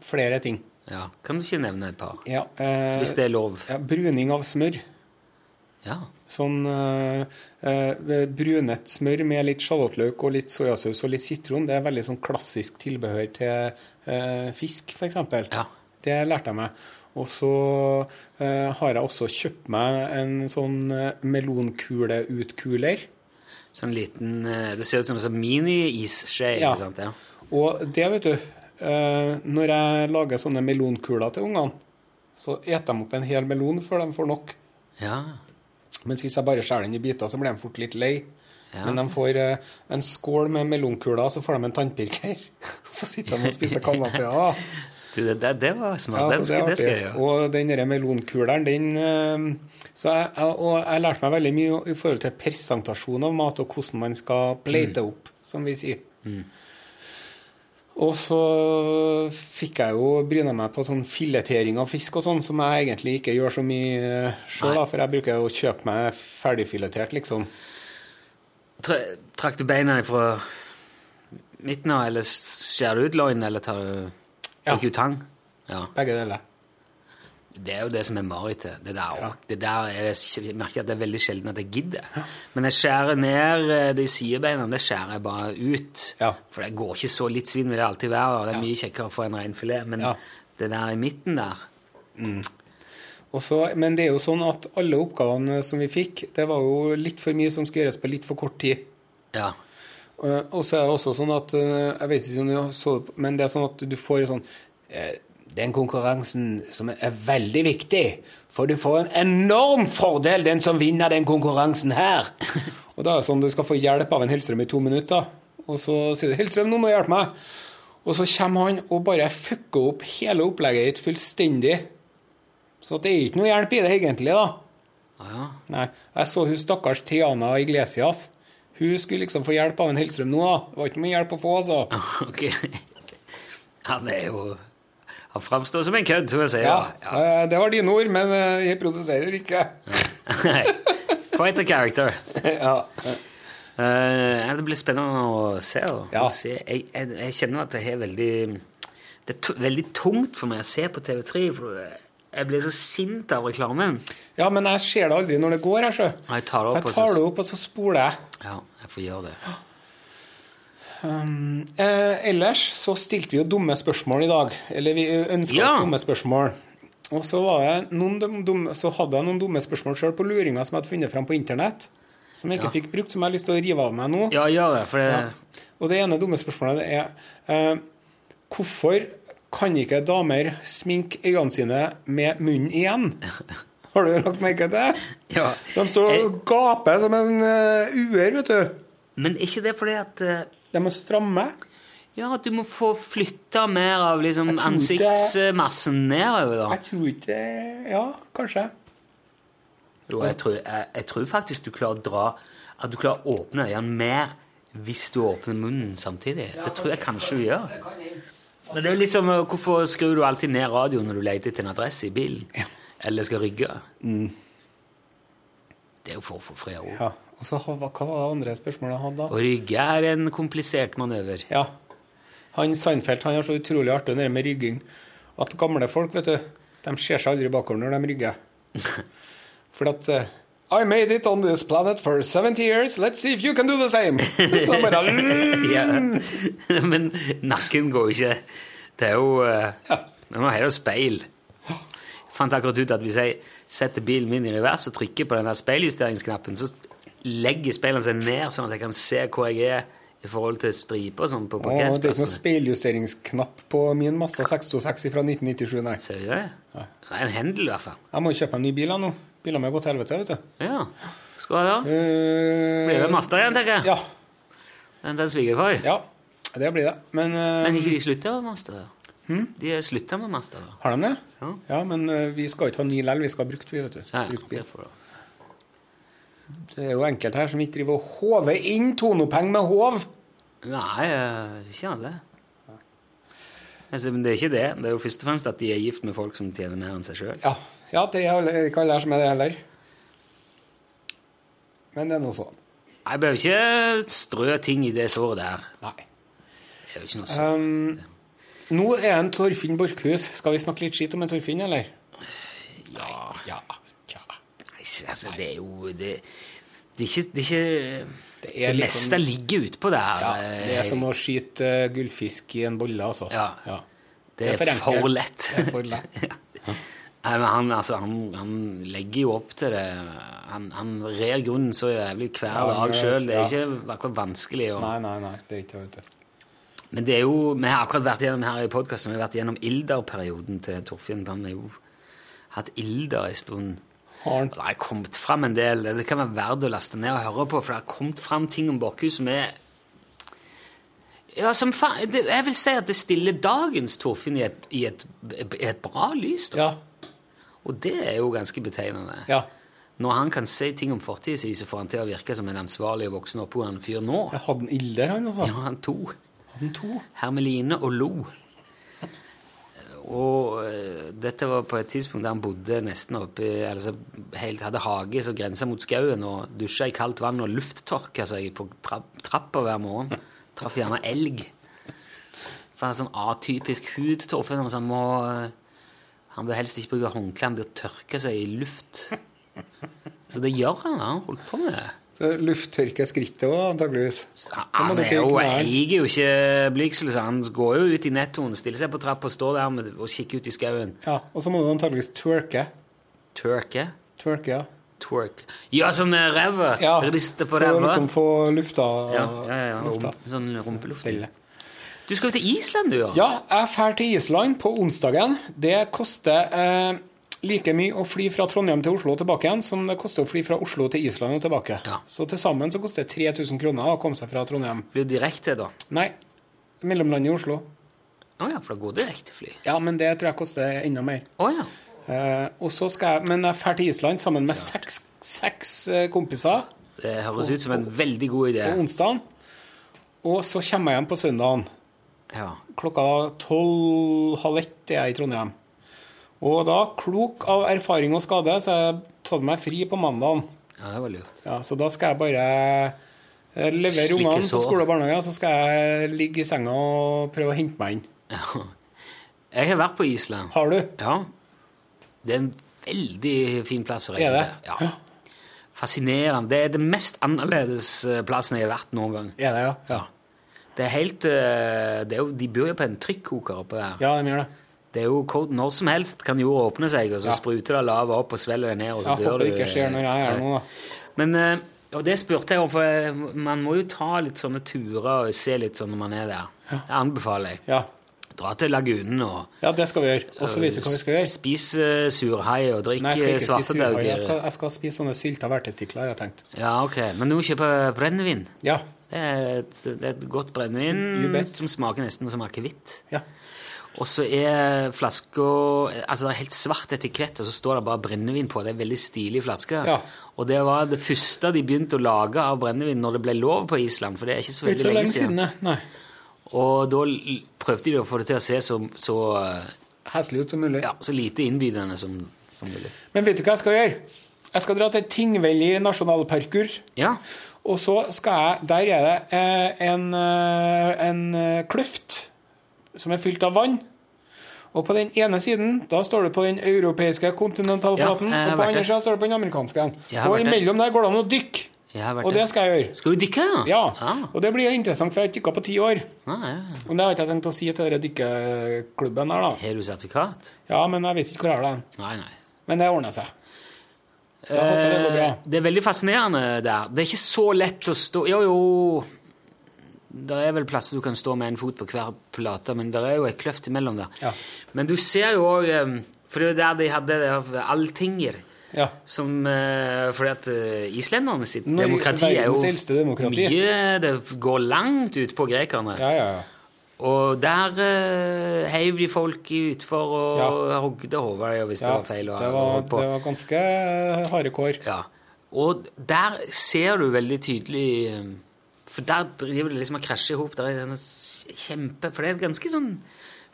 Flere ting.
Ja, Kan du ikke nevne et par?
Ja, øh,
Hvis det er lov.
ja, bruning av smør.
Ja.
Sånn øh, øh, brunet smør med litt sjalottløk og litt soyasaus og litt sitron. Det er veldig sånn klassisk tilbehør til øh, fisk, f.eks.
Ja.
Det lærte jeg meg. Og så eh, har jeg også kjøpt meg en sånn eh, melonkuleutkuler.
Sånn liten eh, Det ser ut som en sånn mini-isskje,
Ja.
ikke sant? Ja.
Og det, vet du eh, Når jeg lager sånne melonkuler til ungene, så eter de opp en hel melon før de får nok.
Ja.
Mens hvis jeg bare skjærer den i biter, så blir de fort litt lei.
Ja.
Men de får eh, en skål med melonkuler, så får de en tannpirker. så sitter de og spiser Ah. kanapeer.
Du, det, det, det var smart.
Ja,
det,
så det er
skal, det skal jeg
artig.
gjøre.
Og den der melonkuleren, den eh, så jeg, jeg, Og jeg lærte meg veldig mye i forhold til presentasjon av mat, og hvordan man skal plate
Mm.
opp, som vi sier. Og så fikk jeg jo bryna meg på sånn filetering av fisk og sånn, som jeg egentlig ikke gjør så mye eh, sjøl, for jeg bruker jo å kjøpe meg ferdigfiletert, liksom.
Tra, trakk du beina fra midten av, eller skjærer du ut løgn, eller tar du
Ja.
Bruker du tang? Ja.
Begge deler.
Det er jo det som er marerittet. Det der, og det der er det, jeg merker at det er veldig sjelden at jeg gidder. Men jeg skjærer ned eh, de sidebeina, det skjærer jeg bare ut.
Ja.
For det går ikke så litt svinn vil det alltid være, og det er mye kjekkere å få en reinfilet. Men
Ja.
det der i midten der
Og så- men det er jo sånn at alle oppgavene som vi fikk, det var jo litt for mye som skulle gjøres på litt for kort tid.
Ja.
Eh, Og så er det også sånn at eh, Jeg vet ikke om du så det, på- men det er sånn at du får sånn eh, Den konkurransen som er veldig viktig, for du får en enorm fordel, den som vinner den konkurransen her. Og da er det sånn du skal få hjelp av en Hellstrøm i to minutter. Og så sier du 'Hellstrøm, nå må du hjelpe meg'. Og så kommer han og bare fucker opp hele opplegget ditt fullstendig. Så det er ikke noe hjelp i det egentlig, da.
Ja.
Nei. Jeg så hun stakkars Triana Iglesias. Hun skulle liksom få hjelp av en Hellstrøm nå, da. Det var ikke mye hjelp å få, altså.
Ok. Han er jo Han framstår som en kødd, som jeg sier.
Ja, eh, det var dine ord, men eh, jeg protesterer ikke.
Nei. Quite a character.
Ja.
Eh, ja, det blir spennende å se. Da.
Ja.
Å se. Jeg, jeg, jeg kjenner at det er veldig Det er to, veldig tungt for meg å se på TV3. For jeg blir så sint av reklamen.
Ja, men jeg ser det aldri når det går, jeg, sjø.
Og Jeg tar det
Jeg
opp. og
tar det
så-
opp, og så spoler jeg.
Ja, jeg får gjøre det.
Um, eh, ellers så stilte vi jo dumme spørsmål i dag. Eller vi ønska
Ja.
oss dumme spørsmål. Og så, var jeg noen dum- dumme, så hadde jeg noen dumme spørsmål sjøl på luringa som jeg hadde funnet fram på internett. Som jeg ikke fikk brukt, som jeg har lyst til å rive av meg nå.
Ja, gjør det. For det
Og det ene dumme spørsmålet det er eh, Hvorfor kan ikke damer sminke øynene sine med munnen igjen? Har du lagt merke til det?
ja.
De står og gaper som en eh, uer, vet du.
Men er ikke det fordi at eh,
De må stramme.
Ja, at du må få flytta mer av liksom,
Jeg tror ikke-
ansiktsmassen nedover, da.
Jeg tror ikke Ja, kanskje.
Jo, jeg tror, jeg, jeg tror faktisk du klarer å dra At du klarer å åpne øynene mer hvis du åpner munnen samtidig. Det tror jeg kanskje du gjør. Men det er litt som eh, Hvorfor skrur du alltid ned radioen når du leter etter en adresse i bilen? Eller skal rygge? Det er jo for å få fred og ro.
Ja. Og så hva, hva var det andre spørsmålet jeg hadde da?
Å rygge er en komplisert manøver.
Ja. Han Seinfeld han har så utrolig artig det der med rygging. At gamle folk, vet du, de ser seg aldri bakover når de rygger. For at eh, I made it on this planet for 70 years, let's see if you can do the same. Så bare,
Ja. Men nakken går jo ikke. Det er jo eh, Vi må ha jo speil. Jeg fant akkurat ut at hvis jeg setter bilen min i revers og trykker på den der speiljusteringsknappen, så legger speilene seg ned, sånn at jeg kan se hvor jeg er i forhold til striper og sånn på
Å, det er ikke noe
parkeringsplassen.
speiljusteringsknapp på min Mazda 626 fra 1997, nei.
Ser du det? Det er en hendel, i hvert fall.
Jeg må jo kjøpe meg en ny bil da, nå. Biler med gått til helvete, vet du.
Ja. Skal du ha det?
Eh,
Blir det Mazda igjen, tenker jeg.
Ja.
Den den svigerfar.
Ja, det blir det. Men, eh,
Men ikke de slutta med Mazda? da?
Hm?
De har slutta med Mazda. da.
har de det?
Ja.
Ja, men eh, vi skal ikke ha ny lell, vi skal ha brukt, vi, vet du.
Ja, ja.
Brukt bil.
Derfor, da.
Det er jo enkelte her som ikke driver og håver inn tonopeng med håv.
Nei, eh, ikke alle. Altså, men det er ikke det. Det er jo først og fremst at de er gift med folk som tjener mer enn seg sjøl.
Ja, ja, det er alle- ikke alle her som er det heller. Men det er nå sånn.
Jeg behøver ikke strø ting i det såret der.
Nei.
Det er jo ikke noe sånt.
Um, nå er en Torfinn Borchhus. Skal vi snakke litt skit om en Torfinn, eller?
Ja,
Ja. ja.
nei, altså, det er jo det, det er ikke Det, er ikke, det,
er litt
meste
sånn-
ligger utpå der.
Ja,
eh,
det er som å skyte eh, gullfisk i en bolle, altså.
Ja.
det er
det
for
er
enkelt.
for lett.
Det er for lett.
Nei, men han, altså, han, han legger jo opp til det. Han, han rer grunnen så jævlig hver
Ja, han
dag
gjør
sjøl.
det,
Det er ikke akkurat vanskelig å
Nei, nei, nei. Det er ikke det. vet du.
Men det er jo, vi har akkurat vært gjennom her i podcasten, vi har vært gjennom Ilder-perioden til Torfinn. Han har jo hatt Ilder en stund.
Har han
Og Det har kommet fram en del, det kan være verdt å laste ned og høre på, for det har kommet fram ting om Borkhus som er ja, som fa det, Jeg vil si at det stiller dagens Torfinn i et, i et, i et bra lys. Da.
Ja.
Og det er jo ganske betegnende.
ja.
Når han kan si ting om fortida si, så får han til å virke som en ansvarlig og voksen oppegående fyr nå.
Jeg hadde en ilder, han, altså.
Ja, han to.
Hadde han to?
Hermeline og Lo. Og eh, dette var på et tidspunkt der han bodde nesten oppe i altså, helt, Hadde hage som grensa mot skauen, og dusja i kaldt vann og lufttørka seg på trapp, trappa hver morgen. Traff gjerne elg. For han har sånn atypisk hud, Torfinn. og så Han må eh, Han vil helst ikke bruke håndkle, han blir tørka seg i luft. Så det gjør han. Han holdt på med det.
Så Lufttørke skrittet òg, antageligvis.
Ja,
Da må
Han
du
er
ikke
jo,
knæ den.
eier jo ikke blygsel, så han går jo ut i nettoen, stiller seg på trappa og står der med, og kikker ut i skauen.
Ja, og så må du antageligvis twerke.
Twerke?
Twerke, ja.
Twerk. Ja, som med ræva!
ja.
Rister på
for å
ræva.
liksom få lufta
Ja, ja, ja.
lufta.
Rump, sånn rumpeluft.
Stille.
Du skal jo til Island, du, ja?
Ja, jeg drar til Island på onsdagen. Det koster eh, like mye å fly fra Trondheim til Oslo og tilbake igjen som det koster å fly fra Oslo til Island og tilbake.
Ja.
Så til sammen så koster det 3000 kroner å komme seg fra Trondheim.
Blir du direkte, da? Å
Nei, mellomlandet i Oslo.
ja, for da går det direktefly.
Ja, men det tror jeg koster enda mer.
Å ja.
Eh, og så skal jeg, Men jeg drar til Island sammen med seks, seks eh, kompiser
Det høres ut som en veldig god idé.
på onsdagen. Og så kommer jeg hjem på søndagen.
Ja.
Klokka tolv-halv ett er jeg i Trondheim. Og da, klok av erfaring og skade, så har jeg tatt meg fri på mandagen.
ja, det var lurt.
Ja, så da skal jeg bare eh, levere
Slikke
ungene på
sår.
skole og barnehage, og så skal jeg ligge i senga og prøve å hente meg inn.
Ja. Jeg har vært på Island.
Har du?
Ja. Det er en veldig fin plass å reise
Er det?
til. Ja. Fascinerende. Det er den mest annerledes eh, plassen jeg har vært noen gang.
Er det, ja?
Ja. Det er helt eh, det er jo, De bor jo på en trykkoker oppe der.
Ja, de gjør det.
Det er jo kod, Når som helst kan jorda åpne seg, og så
Ja.
spruter det lava opp og svelger det ned, og så
Jeg
dør
håper
du.
det ikke skjer når jeg er
Nei.
nå, da.
Men eh, og det spurte jeg om, for jeg- man må jo ta litt sånne turer og se litt sånn når man er der. Det anbefaler jeg.
Ja.
Dra til lagunen og
ja, det skal vi gjøre. Og så vet du hva vi skal gjøre.
Spis eh, surhai og drikk eh,
Nei, jeg skal ikke spise surhai. Jeg skal,
svartedauddyr.
jeg skal spise sånne sylta vertestikler, har jeg tenkt.
Ja, ok. Men du må kjøpe brennevin.
Ja.
Det er et, det er et godt
You
brennevin
bet.
som smaker nesten som akevitt.
ja.
Og så er flaska Altså, det er helt svart etikett, og så står det bare brennevin på. Det er veldig stilig flaske.
Ja.
Og det var det første de begynte å lage av brennevin når det ble lov på Island, for det er ikke så veldig
Ikke så
lenge,
lenge
siden.
siden, nei. nei.
Og da l- prøvde de å få det til å se så, så, eh,
Heslig ut som mulig.
ja, så lite innbydende som, som mulig.
Men vet du hva jeg skal gjøre? Jeg skal dra til Tingvellir nasjonalparkur.
Ja.
Og så skal jeg Der er det eh, en, eh, en eh, kløft som er fylt av vann. Og på den ene siden da står det på den europeiske kontinentalflaten,
Ja, jeg har
og på
vært
andre
der.
sida står det på den amerikanske. en.
Jeg har
Og
vært der.
imellom der går det an å dykke.
Jeg har vært
Og
der.
det skal jeg gjøre.
Skal du dykke?
Ja.
Ah.
Og det blir jo interessant, for jeg har ikke dykka på ti år.
Ah, ja.
Men det har jeg ikke tenkt å si til dere dykkeklubben her, da.
Har du sertifikat?
Ja, men jeg vet ikke hvor jeg har det.
Nei, nei.
Men det ordner seg. Så jeg håper det går bra.
Eh, Det er veldig fascinerende der. Det er ikke så lett å stå Jo, jo Det er vel plasser du kan stå med en fot på hver plate, men det er jo ei kløft imellom der.
Ja.
Men du ser jo òg For det er jo der de hadde det av alltinger.
Ja.
Som, eh, fordi at eh, islenderne sitt
Norge-
demokrati er jo
verdens eldste demokrati.
mye Det går langt ut på grekerne.
Ja, ja, ja.
Og der uh, heiv de folk utfor og
Ja.
hogde hodet hvis det
Ja,
var feil. å-
det,
å
var,
holde på.
det var ganske eh, harde kår.
Ja. Og der ser du veldig tydelig eh, For der driver det liksom og krasjer i hop. Der er det sånn kjempe For det er et ganske sånn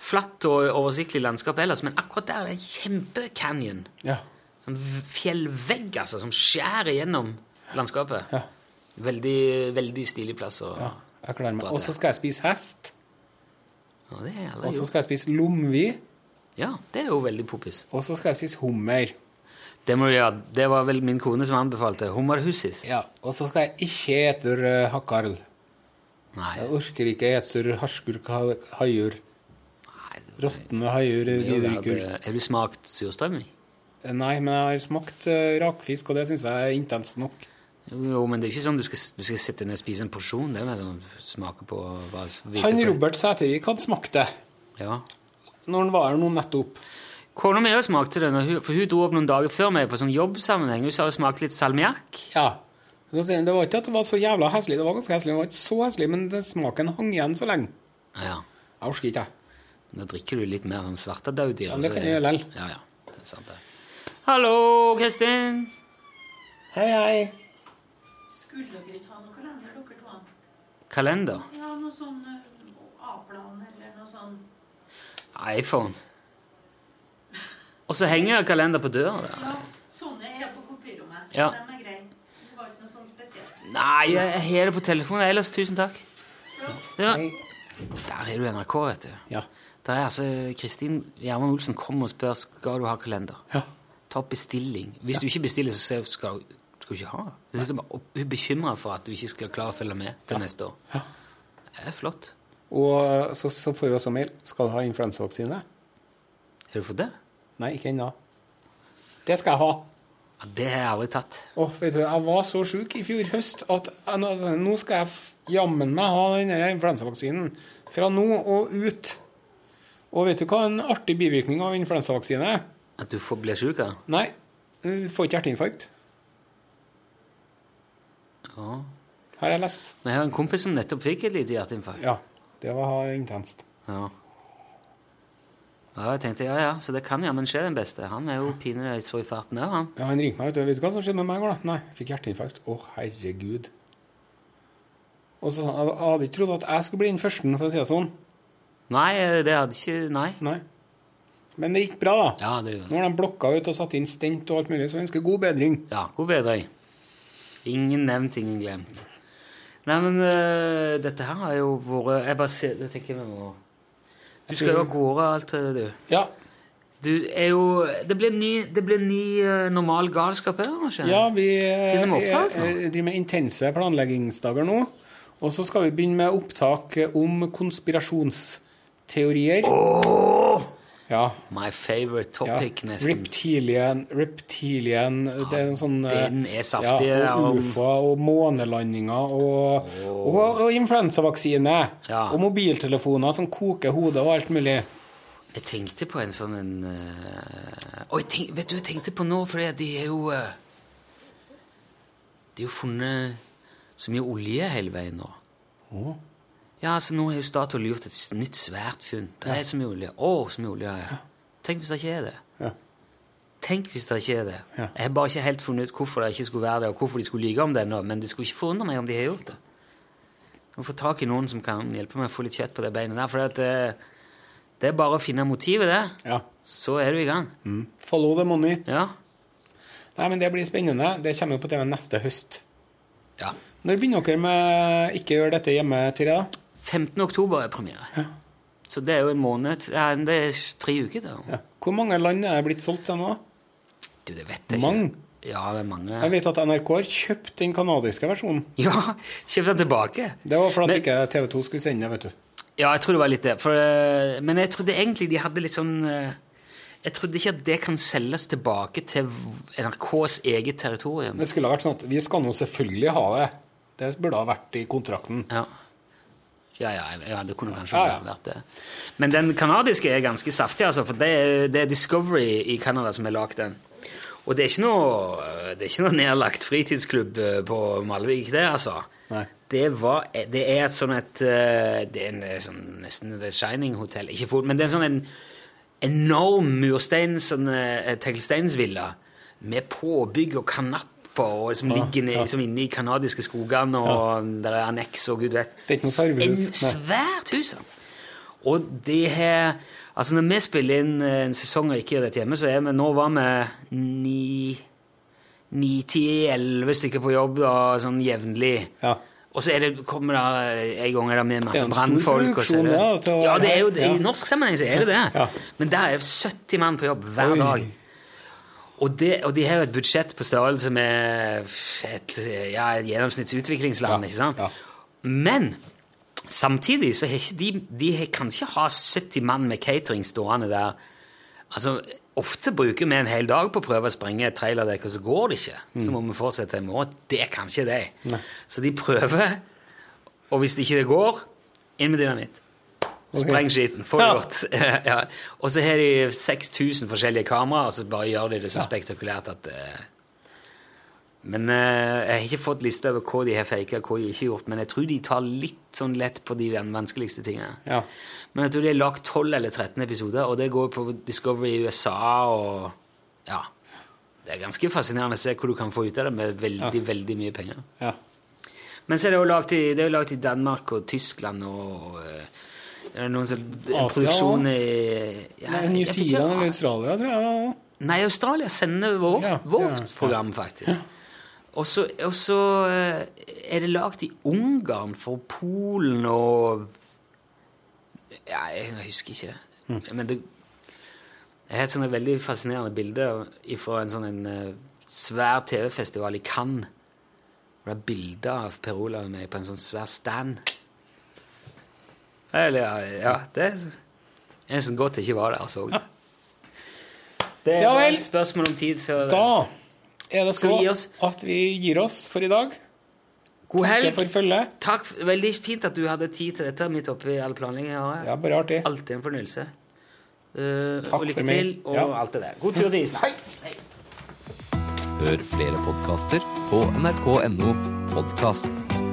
flatt og oversiktlig landskap ellers, men akkurat der er det en kjempecanyon.
Ja.
Sånn fjellvegg, altså, som skjærer gjennom landskapet.
Ja.
Veldig, veldig stilig plass å
ja. Jeg klarer meg.
Bra,
Og så
det.
skal jeg spise hest.
Ja, det er alle
Og så
gjort.
skal jeg spise lomvi.
Ja, det er jo veldig poppis.
Og så skal jeg spise hummer.
Det må du gjøre. Det var vel min kone som anbefalte. Hummerhuset.
Ja. Og så skal jeg ikke ete eh, hakkarl.
Nei.
Jeg orker ikke ete harskurk ha- haiur.
Nei, det-
Råtne haiur
det er jo det at,
viderikur.
eh, Har du smakt surstrømming?
Nei, men jeg har smakt eh, rakfisk, og det syns jeg er intenst nok.
Jo, men det er ikke sånn du skal, du skal sitte ned og spise en porsjon. Det er mer sånn smake på hva vite
Han
på-
Robert Sætervik hadde smakt det
Ja.
når han var her nå nettopp.
Kona mi også smakte det, når hun, for hun dro opp noen dager før meg på sånn jobbsammenheng. Hun sa det smakte litt salmiakk.
Ja. Så sier han, Det var ikke at det var så jævla heslig, det var ganske heslig, det var ikke så heslig, men det, smaken hang igjen så lenge.
Ja.
Jeg orker ikke, jeg.
Da drikker du litt mer sånn svartedauddyr.
Ja, men det
og så
kan
er-
jeg gjøre lell.
Ja, ja. Det er sant, det. Hallo, Kristin.
Hei, hei.
Skulle dere ikke ha noen kalender, dere to?
Kalender.
Ja, noe sånn eh, A-plan eller noe sånn.
iPhone. Og så henger det kalender på døra der.
Ja, sånne er på kopirommet.
Ja.
Dem er greie. Det var ikke noe sånn spesielt.
Nei, jeg har det på telefonen ellers. Tusen takk. Det var... Der har du NRK, vet du.
Ja.
Der er altså Kristin Gjermund Olsen kommer og spør skal du ha kalender.
Ja.
Ta bestilling. Hvis du ikke bestiller, så sier hun, skal, skal du ikke ha. Hun er bare- Hun er bekymra for at du ikke skal klare å følge med til neste år. Det er flott.
Og så, så får vi også mail. Skal du ha influensavaksine?
Har du fått det?
Nei, ikke ennå. Det skal jeg ha.
Ja, det har jeg aldri tatt.
Åh, vet du, jeg var så sjuk i fjor høst at jeg, nå, nå skal jeg f- jammen meg ha den der influensavaksinen. Fra nå og ut. Og vet du hva en artig bivirkning av influensavaksine er?
At du får, blir sjuk av det?
Nei, du får ikke hjerteinfarkt.
Ja.
Har jeg lest.
Men jeg har en kompis som nettopp fikk et lite hjerteinfarkt.
Ja. Det var intenst.
Ja. Ja, jeg tenkte, ja, ja, så det kan jammen skje den beste. Han er jo pinlig så i farten òg, han.
Ja, Han ringte meg, vet du. Vet du hva som skjedde med meg i går, da? Nei, jeg fikk hjerteinfarkt. Å, herregud. Og så sa han, Jeg hadde ikke trodd at jeg skulle bli den første, for å si det sånn.
Nei, det hadde ikke Nei.
Men det gikk bra, da.
Ja, det
Nå har de blokka ut og satt inn stent og alt mulig, så jeg ønsker god bedring.
Ja, god bedring. Ingen nevnt, ingen glemt. Nei, men øh, dette her har jo vært Jeg bare ser, jeg tenker vi må Du
Jeg
skal jo
tror-
av gårde og alt det, du.
Ja.
Du er jo Det blir ny, det blir ny øh, normal galskap her, kanskje?
Ja, vi eh,
Begynner med opptak nå?
eh, driver med intense planleggingsdager nå. Og så skal vi begynne med opptak om konspirasjonsteorier. Ja.
My favorite
Ja.
topic, nesten.
Reptilian, reptilian Det er en sånn eh,
den er saftig,
Ja,
ja, om-
og UFA og månelandinger og, og, og influensavaksine. Og mobiltelefoner som koker hodet og alt mulig.
Jeg tenkte på en sånn en øh, Oi, tenk, vet du, jeg tenkte på nå, for de er jo øh, De har jo funnet så mye olje hele veien nå. Ja, altså Nå har jo Statoil gjort et s- nytt svært funn. Det er så mye olje. Å, så mye olje det er. Tenk hvis det ikke er det. Tenk hvis det ikke er det. Jeg har bare ikke helt funnet ut hvorfor det ikke skulle være det, og hvorfor de skulle lyve om det ennå, men det skulle ikke forundre meg om de har gjort det. Jeg må få tak i noen som kan hjelpe meg å få litt kjøtt på det beinet der, for at, eh, det er bare å finne motivet, det. Så er du i gang.
Follow the money.
Ja.
Nei, men Det blir spennende. Det kommer jo på TV neste høst.
Ja.
Når begynner dere med Ikke gjør dette hjemme, Tirja?
15. oktober er premiere. Så det er jo en måned til- ja, Det er tre uker til. Ja.
Hvor mange land er blitt solgt til nå?
Du, det vet jeg ikke.
Mange.
Ja, det er mange.
Jeg vet at NRK har kjøpt den kanadiske versjonen.
Ja, kjøpt den tilbake.
Det var for at ikke TV 2 skulle sende, vet du.
Ja, jeg tror det var litt det. For, eh, men jeg trodde egentlig de hadde litt sånn eh, Jeg trodde ikke at det kan selges tilbake til NRKs eget territorium.
Det skulle ha vært sånn at vi skal nå selvfølgelig ha det. Det burde ha vært i kontrakten.
Ja, ja, ja, jeg- ja det kunne kanskje
Ja, ja.
vært det. Men den kanadiske er ganske saftig, altså, for det er, det er Discovery i Canada som har lagd den. Og det er ikke noe, eh, det er ikke noe nedlagt fritidsklubb eh, på Malvik, det, altså.
Nei.
Det, var, det er et sånn et eh, Det er en, eh, sånn, nesten The Shining-hotell. Ikke fort, men det er sånn en enorm murstein, sånn eh, teglsteinsvilla med påbygg og kanapper og som
Ja,
ligger ned,
ja.
liksom, inne i kanadiske skogene, og der er anneks og gud vet.
Det er ikke noe servehus,
En
nei.
svært hus, ja. Og det har Altså, når vi spiller inn eh, en sesong og ikke gjør dette hjemme, så er vi Nå var vi ni ni, ti, elleve stykker på jobb da, sånn jevnlig. Og så er det, kommer det en gang er det med
Det er
masse
en stor
brannfolk. og så er det-
produksjon, ja, til å-
Ja, det er jo det.
Ja.
I norsk sammenheng så er det det. Men der er 70 mann på jobb hver
Oi.
dag. Og, det, og de har jo et budsjett på størrelse med et ja, et gjennomsnittsutviklingsland, ikke sant? Men samtidig så har ikke de, de har, kan ikke ha 70 mann med catering stående der. Altså, ofte bruker vi en hel dag på å prøve å sprenge et trailerdekk, og så går det ikke. Så må vi fortsette i morgen. Det kan ikke de. Så de prøver, og hvis det ikke det går, inn med dynamitt. Spreng skiten. Få det godt. ja. Og så har de 6000 forskjellige kameraer, og så bare gjør de det så spektakulært at eh, Men eh, jeg har ikke fått liste over hva de har faka, og hva de ikke har gjort, men jeg tror de tar litt sånn lett på de vanskeligste tingene.
Ja.
Men jeg tror de har lagd 12 eller 13 episoder, og det går på Discovery i USA og Ja. Det er ganske fascinerende å se hvor du kan få ut av det med veldig, veldig mye penger.
Ja.
Men så er det jo lagd i, det er jo laget i Danmark og Tyskland og eh, det er noen som, en
Asia
produksjon
også?
i
Nei,
jeg-
New
jeg vet ikke. Ah,
Zealand eller Australia, tror jeg. ja.
Nei, Australia sender vår, vårt program, faktisk. Og så og så, eh, er det lagd i Ungarn for Polen og Ja, jeg husker ikke.
Mm.
Men det jeg har et sånt veldig fascinerende bilde fra en sånn en eh, svær TV-festival i Cannes. Hvor det er bilder av Per Olav med på en sånn svær stand. Eller, ja, ja, det er en som godt ikke var der og så det. Det
Ja
var
vel.
et spørsmål om tid før
Da er
Skal
det så
vi gi oss?
at vi gir oss for i dag.
God
Takker
helg.
for følget.
Takk, f- Veldig fint at du hadde tid til dette midt oppi all planleggingen. Ja,
bare artig.
Alltid en fornøyelse. Eh,
Takk
og lykke
for meg.
til, og
Ja.
alt det der. God tur til isen. Hei!
Hør flere podkaster på nrk.no podkast.